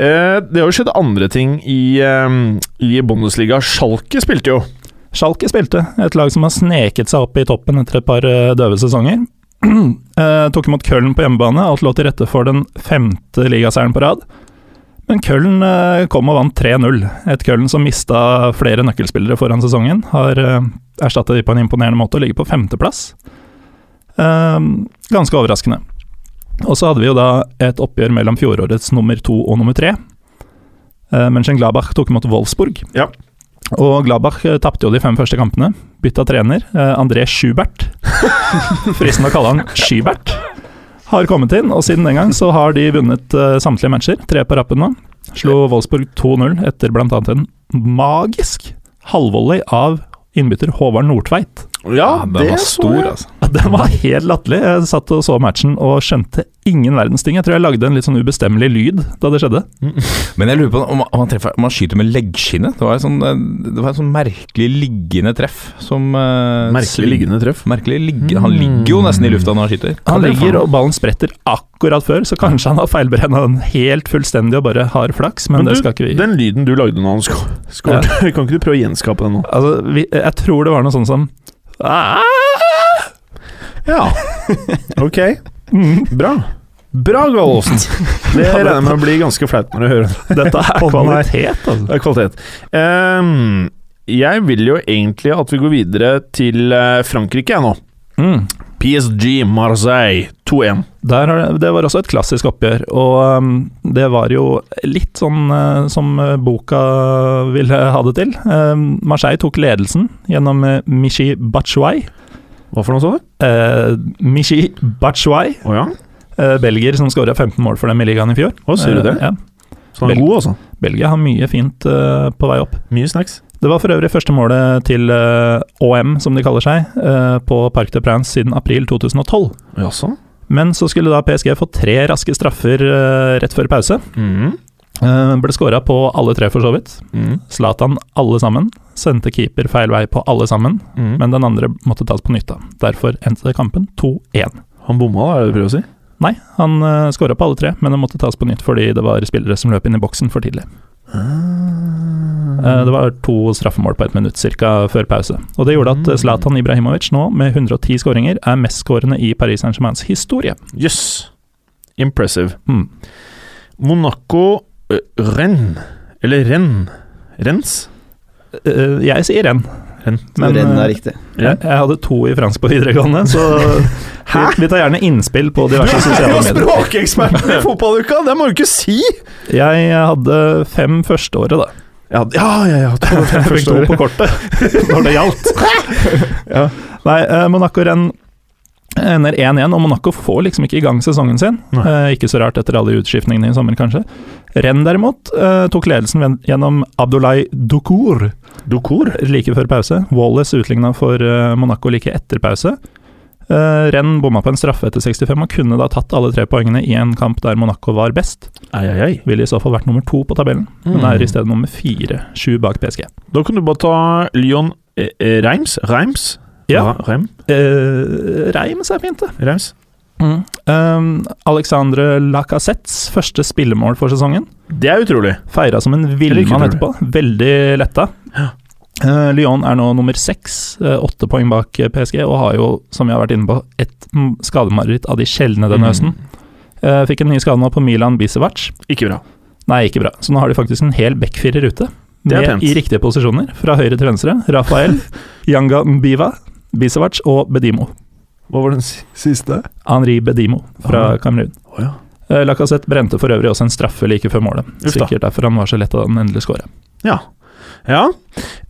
C: Eh, det har jo skjedd andre ting i, eh, i Bundesliga. Schalke spilte jo.
D: Schalke spilte, et lag som har sneket seg opp i toppen etter et par eh, døve sesonger. Eh, tok imot Köln på hjemmebane, alt lå til rette for den femte ligaseieren på rad. Men Köln eh, kom og vant 3-0. Et Köln som mista flere nøkkelspillere foran sesongen, har uh, erstatta de på en imponerende måte og ligger på femteplass. Eh, ganske overraskende. Og så hadde vi jo da et oppgjør mellom fjorårets nummer to og nummer tre. Uh, Mönchengladbach tok imot Wolfsburg.
C: Ja.
D: Og Gladbach eh, tapte jo de fem første kampene. Bytta trener. Eh, André Schubert, fristende å kalle han Skybert, har kommet inn. Og siden den gang så har de vunnet eh, samtlige matcher. Tre på rappen nå. Slo Wolfsburg 2-0 etter bl.a. en magisk halvvolley av innbytter Håvard Nordtveit.
F: Ja, den var stor, altså.
D: Ja, Den var helt latterlig. Jeg satt og så matchen og skjønte ingen verdens ting. Jeg tror jeg lagde en litt sånn ubestemmelig lyd da det skjedde.
F: Men jeg lurer på om, om, han treffer, om han skyter med leggskinnet. Det var et sånn, eh, det var et sånn merkelig liggende treff som eh, sving-
C: treff.
F: Merkelig ligge. Han ligger jo nesten i lufta når han skyter.
D: Han
F: Ja, det er
D: ligger
F: faen.
D: og ballen spretter akkurat før, så kanskje han har feilberegna den helt fullstendig og bare har flaks, men,
C: Men
D: det
C: du,
D: skal ikke vi
C: Den lyden du lagde når han sko- skåret, kan ikke du prøve å gjenskape den nå?
D: Altså, vi, jeg tror det var noe sånn som
F: Ah.
C: Ah! Ja. Ok. Bra. Bra, Gallosen. Det
D: Ja, det-
C: regner jeg med blir ganske flaut når du hører
D: Dette er
C: Podden her.
D: kvalitet, altså.
C: Det er kvalitet. Ehm, jeg vil jo egentlig at vi går videre til eh, Frankrike jeg nå.
D: Mm.
C: PSG Marseille 2-1.
D: Der har det, det var også et klassisk oppgjør, og um, det var jo litt sånn eh, som eh, boka ville ha det til. Um, Marseille tok ledelsen gjennom eh, Michi Batshuay.
C: Hva for noe sånt?
D: Eh, Michi Batshuay
C: Å ja?
D: eh, eh, belgier som skåra 15 mål for dem i ligaen i fjor.
C: Å, sier du det?
D: Eh, ja.
C: Så han er god, altså.
D: Belgia har mye fint eh, på vei opp.
C: Mye snacks.
D: Det var for øvrig første målet til eh, OM, som de kaller seg, eh, på Parc de Prince siden april 2012.
C: Jaså?
D: Men så skulle da PSG få tre raske straffer eh, rett før pause.
C: Mm.
D: Eh, ble skåra på alle tre, for så vidt.
C: Mm.
D: Zlatan alle sammen. Sendte keeper feil vei på alle sammen,
C: Mm.
D: men den andre måtte tas på nytt. da. Derfor endte kampen 2-1.
C: Han bomma, da, er det det du prøver å si?
D: Nei, han uh, skåra på alle tre, men den måtte tas på nytt fordi det var spillere som løp inn i boksen for tidlig.
C: Ah.
E: Mm.
D: Eh, Det var to straffemål på ett minutt ca. før pause. Og Det gjorde
E: Mm.
D: at eh, Zlatan Ibrahimovic nå, med 110 skåringer, er mestskårende i Paris Saint-Germains historie.
C: Jøss. Impressive.
D: Mm.
C: Monaco uh, Renn. Eller Renn. Rennes?
D: Eh, Jeg sier én,
C: Renn.
D: men
E: Renn
D: eh,
E: er riktig.
D: jeg, jeg hadde to i fransk på videregående, så vi, vi tar gjerne innspill på diverse sosiale medier.
C: språkeksperten i fotballuka! Det må du ikke si!
D: Jeg hadde fem førsteåret, da.
C: Ja, ja, ja. ja. det var det
D: Jeg fikk
C: første
D: to
C: året.
D: på kortet når det gjaldt. ja. Nei, eh, Monaco renn eh, ender 1-1, og Monaco får liksom ikke i gang sesongen sin. Eh, ikke så rart etter alle utskiftningene i sommer, kanskje. Renn derimot eh, tok ledelsen ved- gjennom Abdoulaye Doucour
C: Dokor.
D: like før pause. Wallace utligna for eh, Monaco like etter pause. Eh, renn bomma på en straffe etter 65 og kunne da tatt alle tre poengene i en kamp der Monaco var best.
C: Ai, ai, ai.
D: Ville i så fall vært nummer to på tabellen, men
C: Mm.
D: er i stedet nummer fire, sju bak PSG.
C: Da kan du bare ta Lyon eh, eh, Reims. Reims?
D: Ja.
C: Reim.
D: Eh, Reims er fint, det.
C: Reims.
D: Um, Alexandre Lacassets første spillemål for sesongen.
C: Det er utrolig.
D: Feira som en
C: Eller
D: villmann
C: ikke
D: etterpå. Veldig letta. Eh, Lyon er nå nummer seks, eh, åtte poeng bak eh, PSG, og har jo, som vi har vært inne på, et mm, skademareritt av de sjeldne
C: Mm.
D: denne høsten. Eh, fikk en ny skade nå på Milan Bisevac.
C: Ikke bra.
D: Nei, ikke bra. Så nå har de faktisk en hel backfirer ute.
C: Det er
D: Med,
C: pent.
D: I riktige posisjoner, fra høyre til venstre. Rafael, Yanga Mbiva, Bisevac og Bedimo.
C: Hva var den si- siste?
D: Henri Bedimo fra
C: Ah.
D: Kamerun.
C: Å ja.
D: Eh, Lacassette brente for øvrig også en straffe like før målet.
C: Uff da.
D: Sikkert derfor han var så lett av den endelig skåra.
C: Ja. ja.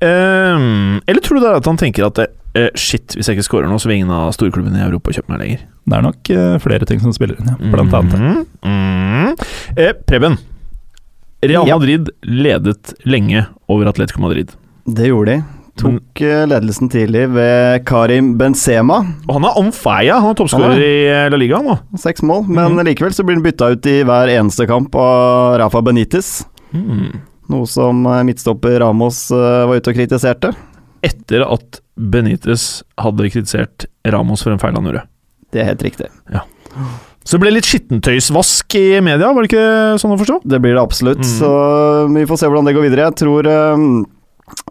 C: Ehm, eller tror du det er at han tenker at eh, shit, hvis jeg ikke scorer nå, så vil ingen av storklubbene i Europa kjøpe meg lenger?
D: Det er nok eh, flere ting som spiller inn, ja. blant annet.
C: Mhm. Mhm. Eh, Preben. Real
E: Ja.
C: Madrid ledet lenge over Atletico Madrid.
E: Det gjorde de.
C: Men,
E: Tok eh, ledelsen tidlig ved Karim Benzema.
C: og han er on fire! Han er
E: Han
C: toppskårer
E: er
C: i eh, La Liga nå.
E: Seks mål, men likevel så blir han bytta ut i hver eneste kamp av Rafa Benitez. Noe som eh, midtstopper Ramos eh, var ute og kritiserte.
C: Etter at Benitez hadde kritisert Ramos for en feil han gjorde.
E: Det er helt riktig.
C: Så det ble litt skittentøysvask i media, var det ikke sånn å forstå?
E: Det blir det absolutt.
C: Mm.
E: Så um, vi får se hvordan det går videre. Jeg tror eh,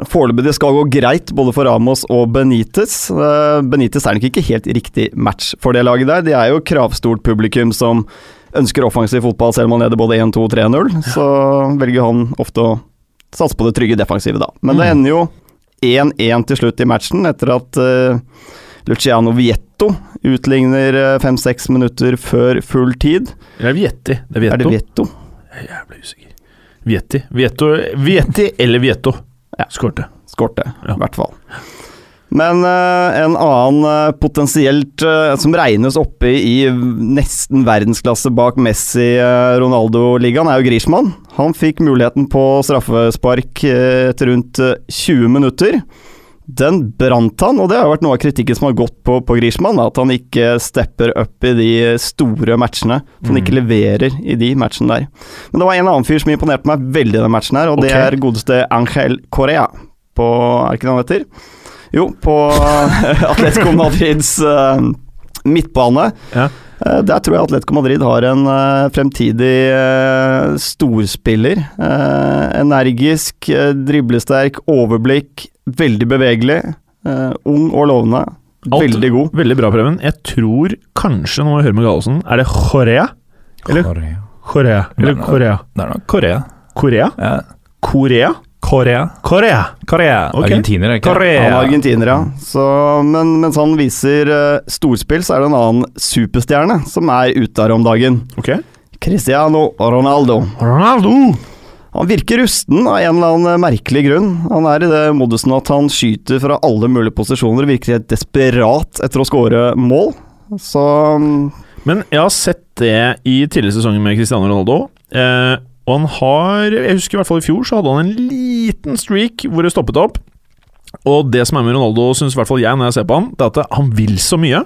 E: foreløpig det skal gå greit både for Ramos og Benitez. Eh, Benitez er nok ikke helt riktig match for det laget der. De er jo kravstort publikum som ønsker offensiv fotball selv om han leder både 1-2 og 3-0. Så velger han ofte å satse på det trygge defensive, da. Men det
C: Mm.
E: ender jo 1-1 til slutt i matchen etter at eh, Luciano Vietto utligner eh, fem-seks minutter før full tid.
C: Det er Vietti. Det er
E: Er det
C: Vietto.
E: Vietto?
C: Jævlig usikker. Vietti. Vietto, Vietti eller Vietto.
E: Ja.
C: Skårte.
E: skorte,
C: Ja.
E: i hvert fall. Men eh, en annen eh, potensielt eh, som regnes oppe i nesten verdensklasse bak Messi-Ronaldo-ligaen, er jo Griezmann. Han fikk muligheten på straffespark eh, etter rundt eh, 20 minutter. Den brant han, og det har jo vært noe av kritikken som har gått på, på Griezmann. At han ikke stepper opp i de store matchene. At han
C: Mm.
E: ikke leverer i de matchene der. Men det var en annen fyr som imponerte meg veldig i den matchen her, og det
C: Ok.
E: er godeste Angel Correa. På Er ikke det han heter? Jo, på eh, Atletico Madrids eh, midtbane.
C: Ja.
E: Eh, der tror jeg Atletico Madrid har en eh, fremtidig eh, storspiller. Eh, energisk, eh, driblesterk, overblikk, veldig bevegelig. eh, ung og lovende.
C: Alt.
E: Veldig god.
C: Veldig bra, Preben. Jeg tror kanskje, nå må jeg høre med Gallosen, er det Korea? Eller-
F: Korea.
C: Korea. Eller
D: Nei, nei.
C: Korea.
D: Det er nok Korea.
C: Korea?
D: Ja.
C: Korea?
D: Korea.
C: Korea.
D: Korea.
C: Ok.
F: Argentiner, er ikke det?
E: Han er
D: Korea.
E: argentiner, ja. Så, men mens han viser eh, storspill, så er det en annen superstjerne som er ute her om dagen.
C: Ok.
E: Cristiano Ronaldo.
C: Ronaldo!
E: Han virker rusten av en eller annen merkelig grunn. Han er i det modusen at han skyter fra alle mulige posisjoner og virker helt desperat etter å skåre mål. Så mm,
C: Men jeg har sett det i tidligere sesonger med Cristiano Ronaldo. Eh, og han har Jeg husker i hvert fall i fjor så hadde han en liten streak hvor det stoppet opp. Og det som er med Ronaldo, syns i hvert fall jeg når jeg ser på han, det er at han vil så mye.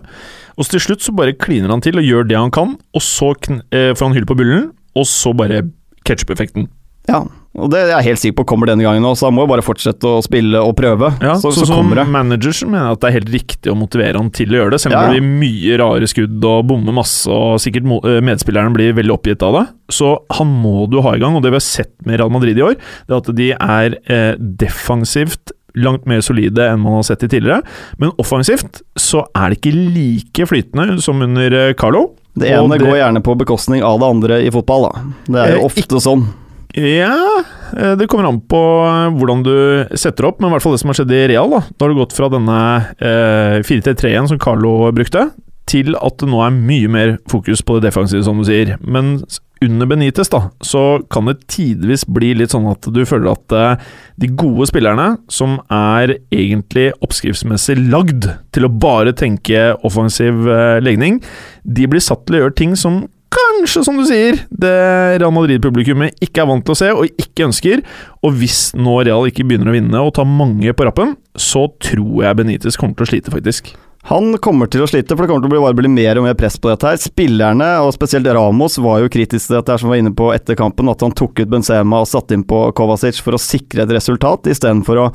C: Og så til slutt så bare kliner han til og gjør det han kan, og så kn eh, får han hyll på bullen, og så bare ketsjup-effekten.
E: Ja, og det er jeg helt sikker på kommer denne gangen òg, så han må jo bare fortsette å spille og prøve.
C: Ja,
E: så,
C: så,
E: så,
C: som
E: kommer det.
C: manager så mener jeg at det er helt riktig å motivere han til å gjøre det, selv om
E: Ja, ja.
C: det blir mye rare skudd og bommer masse, og sikkert mo- eh, medspilleren blir veldig oppgitt av det. Så han må du ha i gang, og det vi har sett med Real Madrid i år, det er at de er eh, defensivt langt mer solide enn man har sett i tidligere. Men offensivt så er det ikke like flytende som under eh, Carlo.
E: Det
C: Og
E: ene
C: det-
E: går gjerne på bekostning av det andre i fotball, da. Det er
C: Eh,
E: jo ofte sånn.
C: Ja eh, Det kommer an på eh, hvordan du setter opp, men i hvert fall det som har skjedd i Real. Da Da har du gått fra denne eh, 4-3-3-en som Carlo brukte, til at det nå er mye mer fokus på det defensive, som du sier. Men s- under Benitez da, så kan det tidvis bli litt sånn at du føler at eh, de gode spillerne, som er egentlig oppskriftsmessig lagd til å bare tenke offensiv eh, legning, de blir satt til å gjøre ting som kanskje, som du sier, det Real Madrid-publikummet ikke er vant til å se og ikke ønsker. Og hvis nå Real ikke begynner å vinne og tar mange på rappen, så tror jeg Benitez kommer til å slite, faktisk.
E: Han kommer til å slite, for det kommer til å bli, bare bli mer og mer press på dette her. Spillerne, og spesielt Ramos, var jo kritisk til dette her, som var inne på etter kampen, at han tok ut Benzema og satte inn på Kovacic for å sikre et resultat, istedenfor å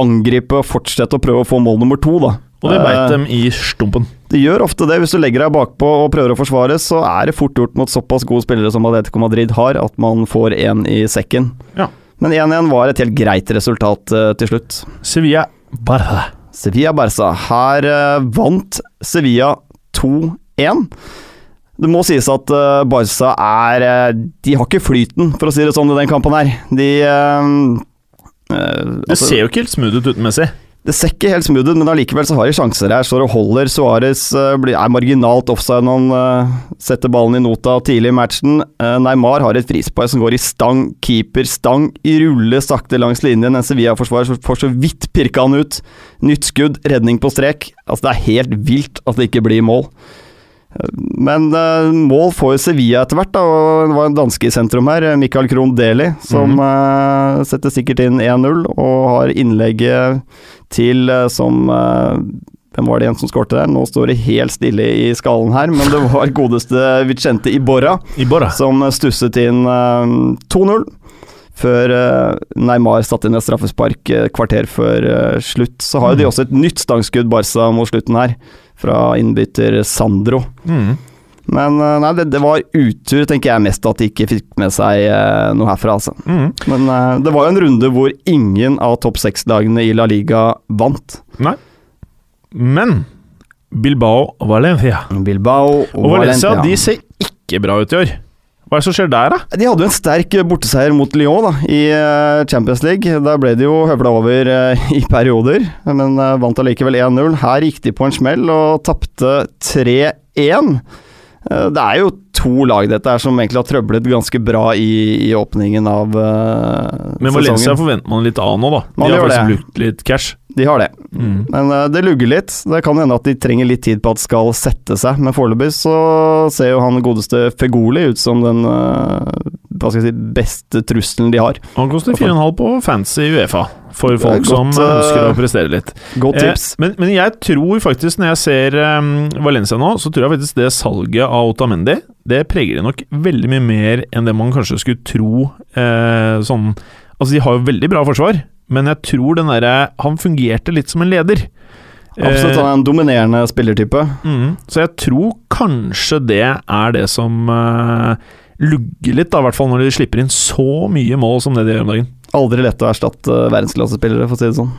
E: angripe og fortsette å prøve å få mål nummer to, da.
C: Og det beit
E: Eh,
C: dem i stumpen.
E: Det gjør ofte det. Hvis du legger deg bakpå og prøver å forsvare, så er det fort gjort mot såpass gode spillere som Atletico Madrid har, at man får én i sekken.
C: Ja.
E: Men 1-1 var et helt greit resultat eh, til slutt.
C: Sevilla bare
E: Sevilla Barca. Her eh, vant Sevilla 2-1. Det må sies at eh, Barca er eh, De har ikke flyten, for å si det sånn, i den kampen her. De eh, eh,
C: Det
E: altså-
C: ser jo ikke helt smooth ut utenmessig.
E: det ser ikke helt smooth ut, men allikevel så har de sjanser her. Står og holder. Suárez er marginalt offside når han eh, setter ballen i nota tidlig i matchen. Eh, Neymar har et frispark som går i stang, keeper stang, ruller sakte langs linjen. En Sevilla-forsvarer får så vidt pirka han ut. Nytt skudd, redning på strek. Altså, det er helt vilt at det ikke blir mål. Eh, Men eh, mål får jo Sevilla etter hvert, da, og det var en danske i sentrum her, eh, Michael Krohn Deli, som eh, setter sikkert inn 1-0 og har innlegget til eh, som eh, Hvem var det igjen som skårte der? Nå står det helt stille i skallen her, men det var godeste Vicente Iborra
C: I Borra.
E: som stusset inn eh, 2-0. Før eh, Neymar satte inn et straffespark eh, kvarter før eh, slutt. Så har jo de også et nytt stangskudd, Barca, mot slutten her. Fra innbytter Sandro.
C: Mm.
E: Men eh, nei, det, det var utur, tenker jeg mest, at de ikke fikk med seg eh, noe herfra, altså.
C: Mm.
E: Men eh, det var jo en runde hvor ingen av topp seks-lagene i La Liga vant.
C: Men Bilbao Valencia
E: Bilbao og,
C: og Valencia
E: Valencia.
C: de ser ikke bra ut i år. Hva er det som skjer der, da?
E: De, hadde jo en sterk borteseier mot Lyon da, i eh, Champions League. Der ble de jo høvla over eh, i perioder, men eh, vant allikevel 1-0. Her gikk de på en smell og tapte 3-1. Eh, Det er jo to lag dette her som egentlig har trøblet ganske bra i, i åpningen av eh,
C: Men Valencia
E: sesongen.
C: forventer man litt av nå, da. De
E: Man
C: har
E: gjør
C: faktisk
E: det.
C: brukt litt cash.
E: De har det.
C: Mm.
E: Men eh, det lugger litt. Det kan hende at de trenger litt tid på at det skal sette seg, men foreløpig så ser jo han godeste Fegoli ut som den eh, hva skal jeg si, beste trusselen de har.
C: Han koster 4,5 på fancy Uefa, for
E: Det er
C: folk som
E: godt, eh,
C: ønsker å prestere litt.
E: Godt tips.
C: Eh, men, men jeg tror faktisk, når jeg ser eh, Valencia nå, så tror jeg faktisk det salget av Otamendi Det preger det nok veldig mye mer enn det man kanskje skulle tro eh, sånn Altså, de har jo veldig bra forsvar, men jeg tror den derre Han fungerte litt som en leder. eh,
E: Absolutt, han er en dominerende spillertype.
C: Mm, så jeg tror kanskje det er det som eh, lugger litt, da, i hvert fall når de slipper inn så mye mål som det de gjør om dagen.
E: Aldri lett å erstatte verdensklassespillere, for å si det sånn.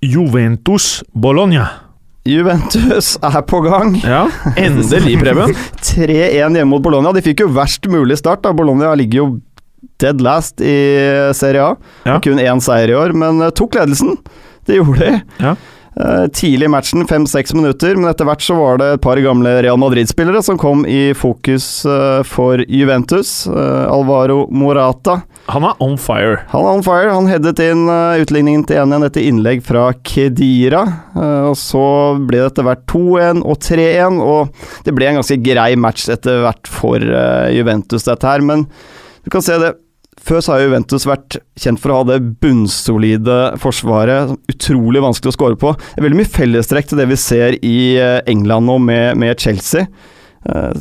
C: Juventus Bologna.
E: Juventus er på gang.
C: Ja, endelig, Preben.
E: 3-1 hjemme mot Bologna. De fikk jo verst mulig start. da Bologna ligger jo dead last i Serie A.
C: Ja.
E: Har Kun én seier i år, men eh, tok ledelsen. Det gjorde de.
C: Ja.
E: Eh, Tidlig i matchen, fem-seks minutter, men etter hvert så var det et par gamle Real Madrid-spillere som kom i fokus eh, for Juventus. Eh, Alvaro Morata.
C: Han er on fire.
E: Han er on fire. Han headet inn eh, utligningen til 1-1 etter innlegg fra Kedira. Eh, Og så ble det etter hvert 2-1 og 3-1, og det ble en ganske grei match etter hvert for eh, Juventus, dette her. Men du kan se det. Før så har Juventus vært kjent for å ha det bunnsolide forsvaret. som Utrolig vanskelig å score på. Det er veldig mye fellestrekk til det vi ser i eh, England nå med, med Chelsea. Eh,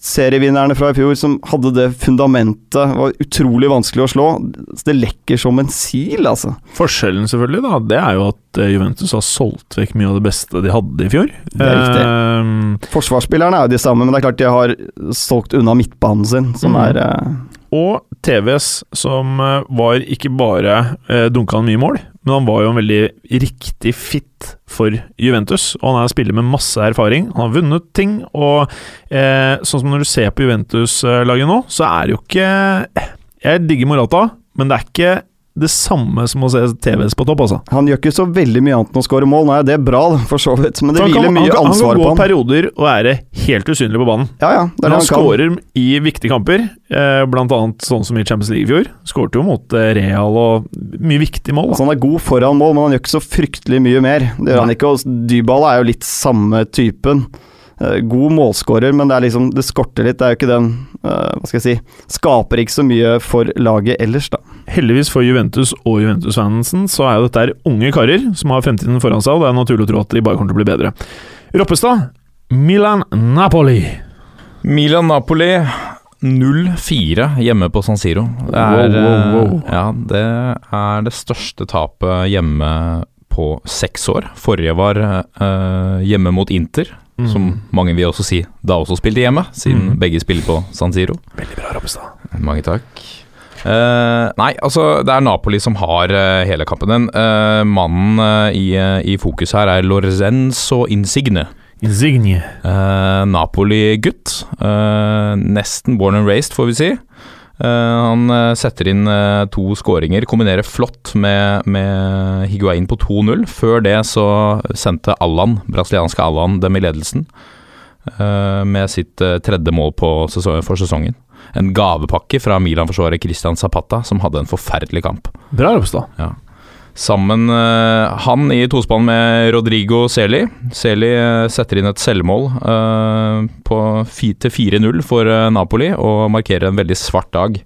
E: serievinnerne fra i fjor som hadde det fundamentet, var utrolig vanskelig å slå. Så det lekker som en sil, altså.
C: Forskjellen selvfølgelig da, det er jo at eh, Juventus har solgt vekk mye av det beste de hadde i fjor.
E: Det er riktig.
C: Ehm,
E: Forsvarsspillerne er jo de samme, men det er klart de har solgt unna midtbanen sin, som
C: Mm.
E: er eh,
C: og TVS, som eh, var ikke bare eh, dunka han mye mål, men han var jo en veldig riktig fit for Juventus. Og han er en spiller med masse erfaring, han har vunnet ting, og eh, sånn som når du ser på Juventus-laget nå, så er det jo ikke eh, Jeg digger Morata, men det er ikke det samme som å se TVS på topp, altså.
E: Han gjør ikke så veldig mye annet enn å skåre mål. Nå er det bra, da, for så vidt, men det
C: For han
E: hviler
C: kan- han
E: mye
C: kan-
E: ansvar
C: Han kan
E: på
C: gå
E: han.
C: perioder og være helt usynlig på banen.
E: Ja, ja, det er
C: Men
E: det
C: han
E: han kan.
C: skårer i viktige kamper, eh, blant annet sånn som i Champions League i fjor. Skårte jo mot eh, Real og mye viktige mål. da.
E: Altså, han er god foran mål, men han gjør ikke så fryktelig mye mer. Det gjør han ikke, og Dybala er jo litt samme typen. Eh, God målskårer, men det, er liksom, det skorter litt. Det er jo ikke den eh, Hva skal jeg si Skaper ikke så mye for laget ellers, da.
C: Heldigvis for Juventus og Juventus-fansen så er jo dette her unge karer som har fremtiden foran seg, og det er naturlig å tro at de bare kommer til å bli bedre. Roppestad, Milan-Napoli.
F: Milan-Napoli 0-4 hjemme på San Siro. Det er, eh,
C: Wow, wow, wow.
F: Ja, det er det største tapet hjemme på seks år. Forrige var eh, hjemme mot Inter, som mange vil også si da også spilte hjemme, siden
C: Mm.
F: begge spiller på San Siro.
C: Veldig bra, Roppestad.
F: Mange takk. Eh, nei, altså det er Napoli som har eh, hele kampen. Den eh, mannen eh, i, eh, i fokus her er Lorenzo Insigne.
C: Insigne.
F: Eh, Napoli-gutt. Eh, nesten born and raised, får vi si. Eh, han eh, setter inn eh, to skåringer, kombinerer flott med, med Higuain på 2-0. Før det så sendte Allan, brasilianske Allan dem i ledelsen eh, med sitt eh, tredje mål på sesongen, for sesongen. En gavepakke fra Milan-forsvaret Christian Zapata, som hadde en forferdelig kamp.
C: Bra, Roppestad.
F: Sammen eh, Han i tospann med Rodrigo Seli. Seli eh, setter inn et selvmål eh, på fi- til 4-0 for eh, Napoli og markerer en veldig svart dag.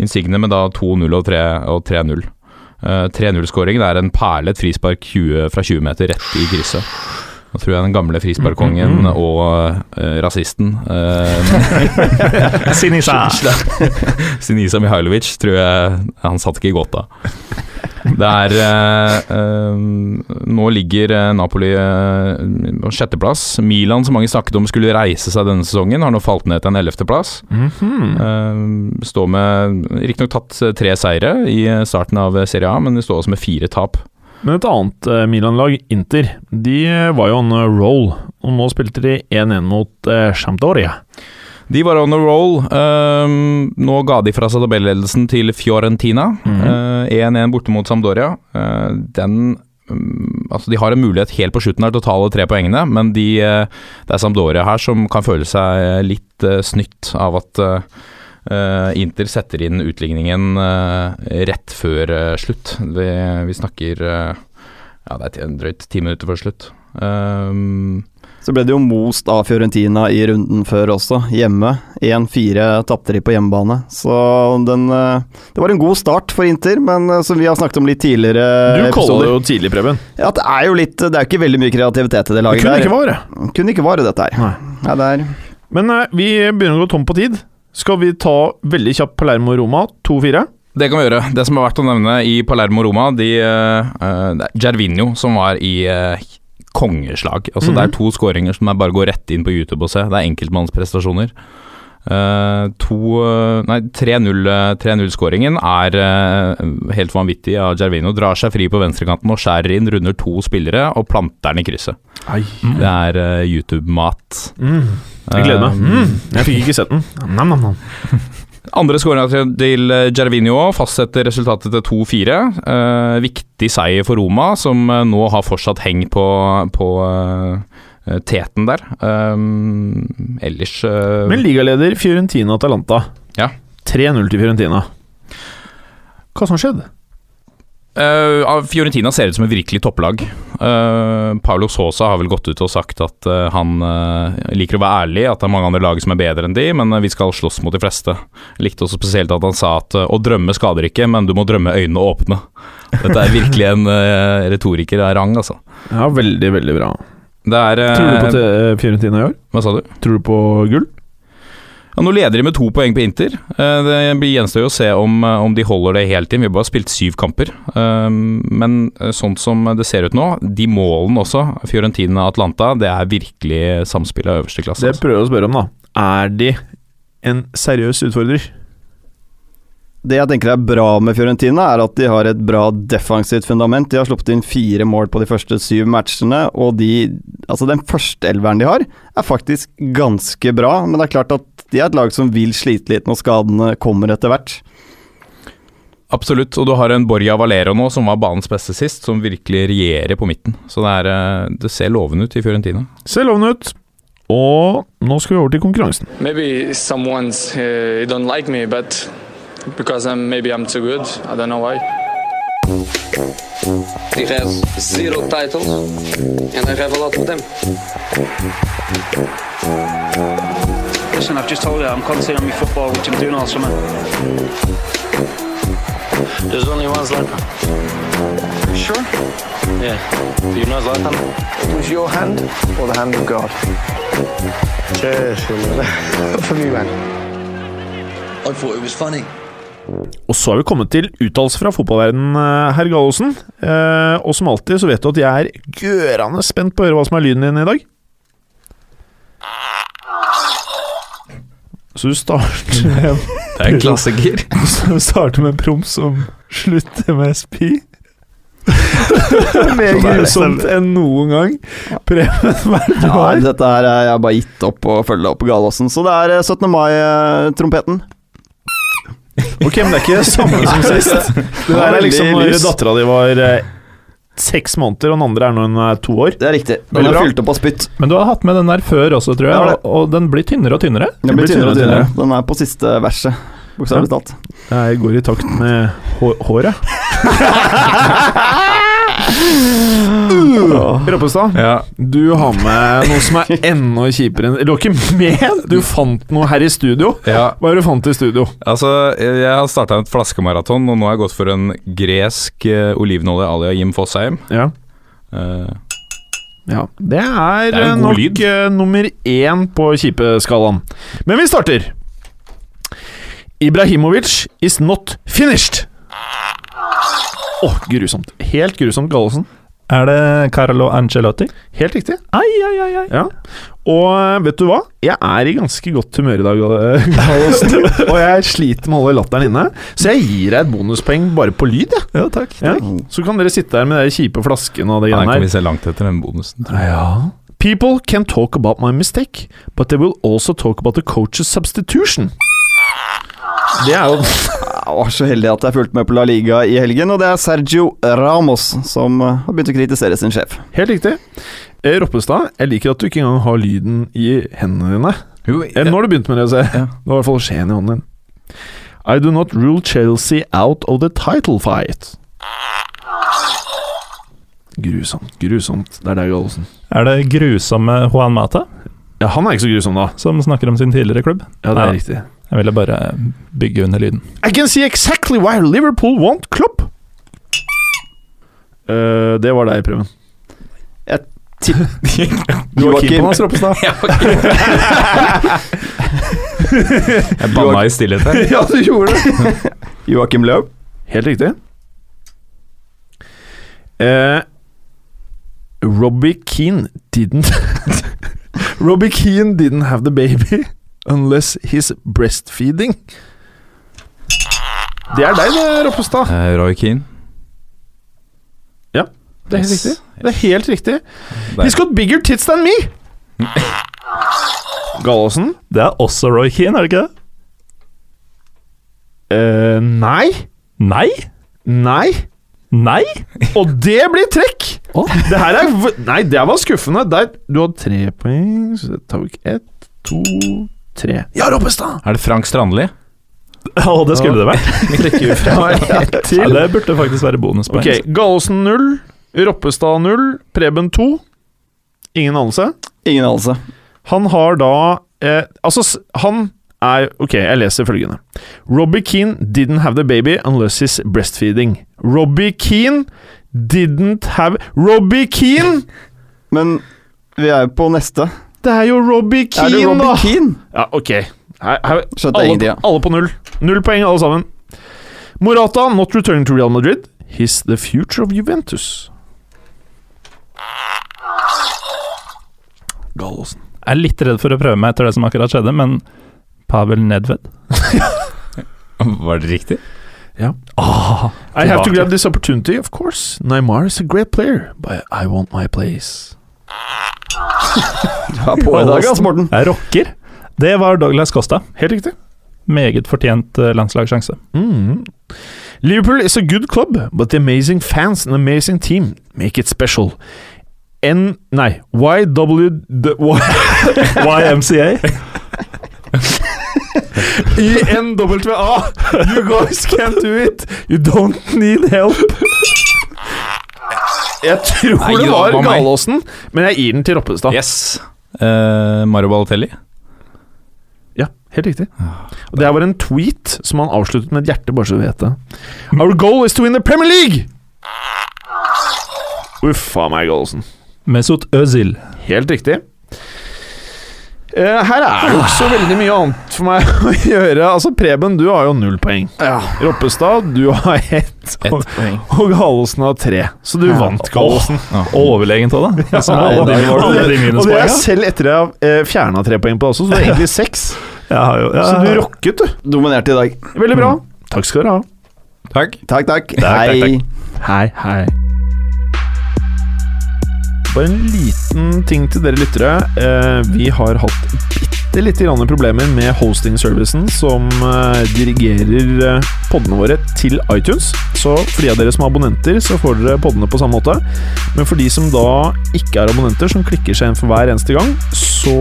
F: Insigne med da 2-0 og tre- og 3-0. 3-0-skåringen er en perle, et frispark 20, fra 20 meter rett i krysset. Da tror jeg den gamle frisparkkongen og eh, rasisten eh,
D: Sinisa!
F: Sinisa Mihailovic tror jeg han satt ikke godt av. Det er eh, eh, Nå ligger eh, Napoli eh, på sjetteplass. Milan, som mange snakket om skulle reise seg denne sesongen, har nå falt ned til en ellevteplass.
C: Mhm.
F: Eh, står med Riktignok tatt eh, tre seire i eh, starten av Serie A, men de står også med fire tap.
C: Men et annet eh, Milan-lag, Inter, de eh, var jo on a roll, og nå spilte de 1-1 mot eh, Sampdoria.
F: De var on a roll. Ehm, nå ga de fra seg tabelledelsen til Fiorentina.
C: Mhm.
F: Eh, 1-1 borte mot Sampdoria. Eh, den mm, Altså, de har en mulighet helt på slutten her til å ta alle tre poengene, men de, eh, det er Sampdoria her som kan føle seg eh, litt eh, snytt av at eh, eh, Inter setter inn utligningen eh, rett før eh, slutt. Vi, vi snakker eh, Ja, det er ti- drøyt ti minutter før slutt. Ehm,
E: Så ble det jo most av Fiorentina i runden før også, hjemme. 1-4 tapte de på hjemmebane. Så den eh, Det var en god start for Inter, men eh, som vi har snakket om litt tidligere
C: Du kaller det
E: episoder
C: jo Eh, tidlig, Preben.
E: Ja, det er jo litt Det er jo ikke veldig mye kreativitet i det
C: Det
E: laget
C: kunne
E: der.
C: ikke vare.
E: Kunne ikke vare dette her.
C: Nei.
E: Nei, det er
C: Men eh, vi begynner å gå tom på tid. Skal vi ta veldig kjapt Palermo-Roma 2-4?
F: Det kan vi gjøre. Det som er verdt å nevne i Palermo og Roma de, eh, eh, det er Gervinho som var i eh, kongeslag. Altså,
C: Mhm.
F: Det er to skåringer som er bare å gå rett inn på YouTube og se. Det er enkeltmannsprestasjoner. Eh, to eh, Nei, eh, 3-0-skåringen er eh, helt vanvittig av Gervinho. Drar seg fri på venstrekanten og skjærer inn, runder to spillere og planter den i krysset.
D: Mm.
F: Det er eh, YouTube-mat.
C: Mm. Jeg gleder meg.
F: Eh,
C: Mm. Jeg fikk ikke sett den. Nam, nam, nam.
F: Andre skåringa til, til Gervinho fastsetter resultatet til 2-4. Eh, viktig seier for Roma, som eh, nå har fortsatt heng på, på eh, teten der. Eh, ellers eh,
C: Men ligaleder Fiorentina Atalanta.
F: Ja.
C: 3-0 til Fiorentina. Hva som skjedde?
F: Eh, Fiorentina ser ut som et virkelig topplag. Eh, Paulo Sosa har vel gått ut og sagt at eh, han eh, liker å være ærlig, at det er mange andre lag som er bedre enn de, men eh, vi skal slåss mot de fleste. Jeg likte også spesielt at han sa at eh, å drømme skader ikke, men du må drømme øynene åpne. Dette er virkelig en eh, retoriker av rang, altså.
C: Ja, veldig, veldig bra.
F: Det er eh,
C: Tror du på te- Fiorentina i år?
F: Hva sa du?
C: Tror du på gull?
F: Ja, nå leder de med to poeng på Inter. Eh, Det blir gjenstår jo å se om, eh, om de holder det helt inn. Vi har bare spilt syv kamper. Eh, Men eh, sånn som det ser ut nå, de målene også, Fiorentina og Atlanta, det er virkelig samspill av øverste klasse.
C: Det jeg
F: Altså.
C: prøver å spørre om, da. Er de en seriøs utfordrer?
E: Det jeg tenker er bra med Fiorentina, er at de har et bra defensivt fundament. De har sluppet inn fire mål på de første syv matchene, og de Altså, den første elveren de har, er faktisk ganske bra, men det er klart at de er et lag som vil slite litt når skadene kommer etter hvert.
F: Absolutt. Og du har en Borja Valero nå, som var banens beste sist, som virkelig regjerer på midten. Så det, er, eh, det ser lovende ut i Fiorentina.
C: Ser lovende ut. Og nå skal vi over til konkurransen.
G: Maybe someone's uh, don't like me, but because I'm maybe I'm too good. I don't know why.
H: He has zero titles, and I have a lot of them.
I: Listen, I've just told you I'm concentrating on my football, which I'm doing all summer. There's only one Zlatan. Sure? Yeah. Do you know Zlatan? It was your hand or the hand of God? Cheers. For me, man.
J: I thought it was funny.
C: Og så har vi kommet til uttalelse fra fotballverdenen, eh, herr Gallosen. Eh, og som alltid så vet du at jeg er gørande spent på å høre hva som er lyden din i dag. Så du starter med,
F: Det er en klassiker.
C: du starter med en promp som slutter med spy? Mer grusomt sånn enn noen gang. Preben, hva er det du
E: liksom- Ja,
C: har?
E: dette her er jeg har bare gitt opp å følge opp Galåsen, så det er eh, 17. mai-trompeten.
C: Ok, men det er ikke det samme som sist. Det der er liksom når dattera di var eh, seks måneder, og den andre er når hun er to år.
E: Det er riktig. Den
C: Veldig
E: er
C: bra.
E: fylt opp av spytt.
D: Men du har hatt med den der før også, tror
E: Jeg har
D: jeg,
E: det.
D: og, og den blir tynnere og tynnere.
E: Den blir
C: blir
E: tynnere og
C: tynnere
E: tynnere. Den er på siste verset, bokstavelig talt.
C: Jeg går i takt med hå- håret. Rappestad,
F: Ja.
C: du har med noe som er enda kjipere enn Du var ikke med! Du fant noe her i studio.
F: ja.
C: Hva er det du fant i studio?
F: Altså, jeg har starta et flaskemaraton, og nå har jeg gått for en gresk eh, olivenolje à la Jim Fosheim.
C: Ja.
F: Eh,
C: Det er,
F: Det er en god
C: nok
F: lyd.
C: eh, nummer én på kjipe-skalaen. Men vi starter. Ibrahimovic is not finished. Åh, grusomt. Helt grusomt, Gallosen.
D: Er det Carlo Ancelotti?
C: Helt riktig.
D: Ai, ai, ai, ai.
C: Ja. Og eh, vet du hva? Jeg er i ganske godt humør i dag, eh, Gallosen. og jeg sliter med å holde latteren inne, så jeg gir deg et bonuspoeng bare på lyd. jeg.
D: Ja, takk.
C: Ja. Så kan dere sitte her med de kjipe flaskene og det
F: Ja, den
C: greiene
F: kan
C: her.
F: vi se langt etter den bonusen.
C: Ja. People can talk about my mistake, but they will also talk about the coach's substitution. Det er jo
E: Jeg var så heldig at jeg fulgte med på La Liga i helgen, og det er Sergio Ramos som eh, har begynt å kritisere sin sjef.
C: helt riktig. Eh, Roppestad, jeg liker at du ikke engang har lyden i hendene dine. Eller nå har du begynt med det, ser jeg. Du har i hvert fall skjeen i hånden din. I do not rule Chelsea out of the title fight. Grusomt, grusomt. Det er deg, Gallosen.
D: Er det grusomme Juan Mata,
C: Ja, han er ikke så grusom, da.
D: som snakker om sin tidligere klubb?
C: Ja,
D: Ja.
C: riktig.
D: Jeg ville bare bygge under lyden.
C: I can see exactly why Liverpool want Klopp. Eh, det var deg, Preben.
E: Du var keen på
C: hans, Roppestad.
F: Jeg banna i stillhet her.
C: ja, du gjorde det.
E: Joakim Løv.
C: Helt riktig. Eh, Robbie Keane didn't Robbie Keane didn't have the baby unless he's breastfeeding. Det er deg, det, Roppestad.
F: Eh, Roy Keane.
C: Det er helt
F: Yes.
C: riktig. Det er helt riktig. He's got bigger tits than me! Gallosen?
D: Det er også Roy Keane, er det ikke det?
C: Eh, nei.
D: Nei?
C: Nei.
D: Nei?
C: Og det blir trekk! Det her er v- Nei, det var skuffende. Der, du hadde tre poeng, så tar vi ikke ett, to, tre. Ja, Roppestad!
F: Er det Frank Strandli?
D: Å, det skulle det vært.
C: Ett
D: Ja,
C: til.
D: det burde faktisk være bonuspoeng.
C: Ok, Gallosen null, Roppestad null, Preben to. Ingen anelse.
E: Ingen anelse.
C: Han har da eh, Altså, s- han er Ok, jeg leser følgende. Robbie Keane didn't have the baby unless he's breastfeeding. Robbie Keane didn't have Robbie Keane!
E: Men vi er jo på neste.
C: Det er jo Robbie
E: er det
C: Keane, da!
E: Robbie Keane?
C: Ja, ok. Her, her,
E: Skjønte ingenting,
C: alle,
E: ja.
C: alle på null. Null poeng, alle sammen. Morata not returning to Real Madrid. He's the future of Juventus. Gallosen.
D: Jeg er litt redd for å prøve meg etter det som akkurat skjedde, men Pavel Nedved
F: Var det riktig?
C: I have to grab this opportunity, of course. Neymar is a great player, but I want my place.
E: Du er på i dag, ass, Morten.
D: Jeg rocker. Det var Douglas Costa.
C: Helt riktig.
D: Meget fortjent eh, landslagssjanse.
C: Mhm. Liverpool is a good club, but the amazing fans and amazing team make it special. N... Nei. YW... d- Y-
D: YMCA.
C: INWA. You guys can do it. You don't need help. Jeg tror
F: Nei,
C: det
F: det
C: var
F: var meg.
C: Galåsen, men jeg gir den til Roppestad.
F: Yes. Eh, Mario Balotelli?
C: Ja, helt riktig. Og det her var en tweet som han avsluttet med et hjerte, bare så du vet det. Our goal is to win the Premier League! Uff a meg, Gallosen.
D: Mesut Özil.
C: Helt riktig. Eh, her er det jo ikke så veldig mye annet for meg å gjøre. Altså, Preben, du har jo null poeng. Roppestad, du har ett.
F: Ett
C: Og,
F: poeng.
C: og Gallosen har tre. Så du vant, Gallosen.
D: Overlegent òg, da. Altså,
C: Og
D: det
C: det-
D: var de
C: og det er
D: minuspoengene.
C: selv etter jeg har fjerna tre poeng på deg også, så det er egentlig seks.
D: Jeg har jo-
C: Så du
D: ja.
C: rocket, du.
E: Dominerte i dag.
C: Veldig bra. Takk skal dere ha.
F: Takk.
E: Takk, takk.
D: takk,
E: Hei.
C: Hei, hei. Bare en liten ting til dere lyttere. Eh, vi har hatt bitte lite grann problemer med hosting-servicen som eh, dirigerer eh, podene våre til iTunes. Så for de av dere som er abonnenter, så får dere podene på samme måte. Men for de som da ikke er abonnenter, som klikker seg inn for hver eneste gang, så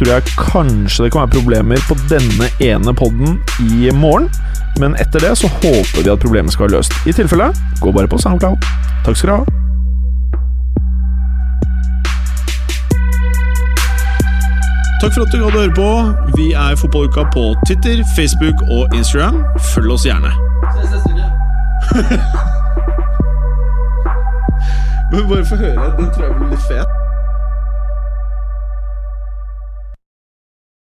C: tror jeg kanskje det kan være problemer på denne ene podden i morgen. Men etter det så håper vi at problemet skal være løst. I tilfelle, gå bare på SoundCloud. Takk skal dere ha. Takk for at du hadde høre på. Vi er Fotballuka på Twitter, Facebook og Instagram. Følg oss gjerne. Men bare få høre. Den tror jeg blir litt fet.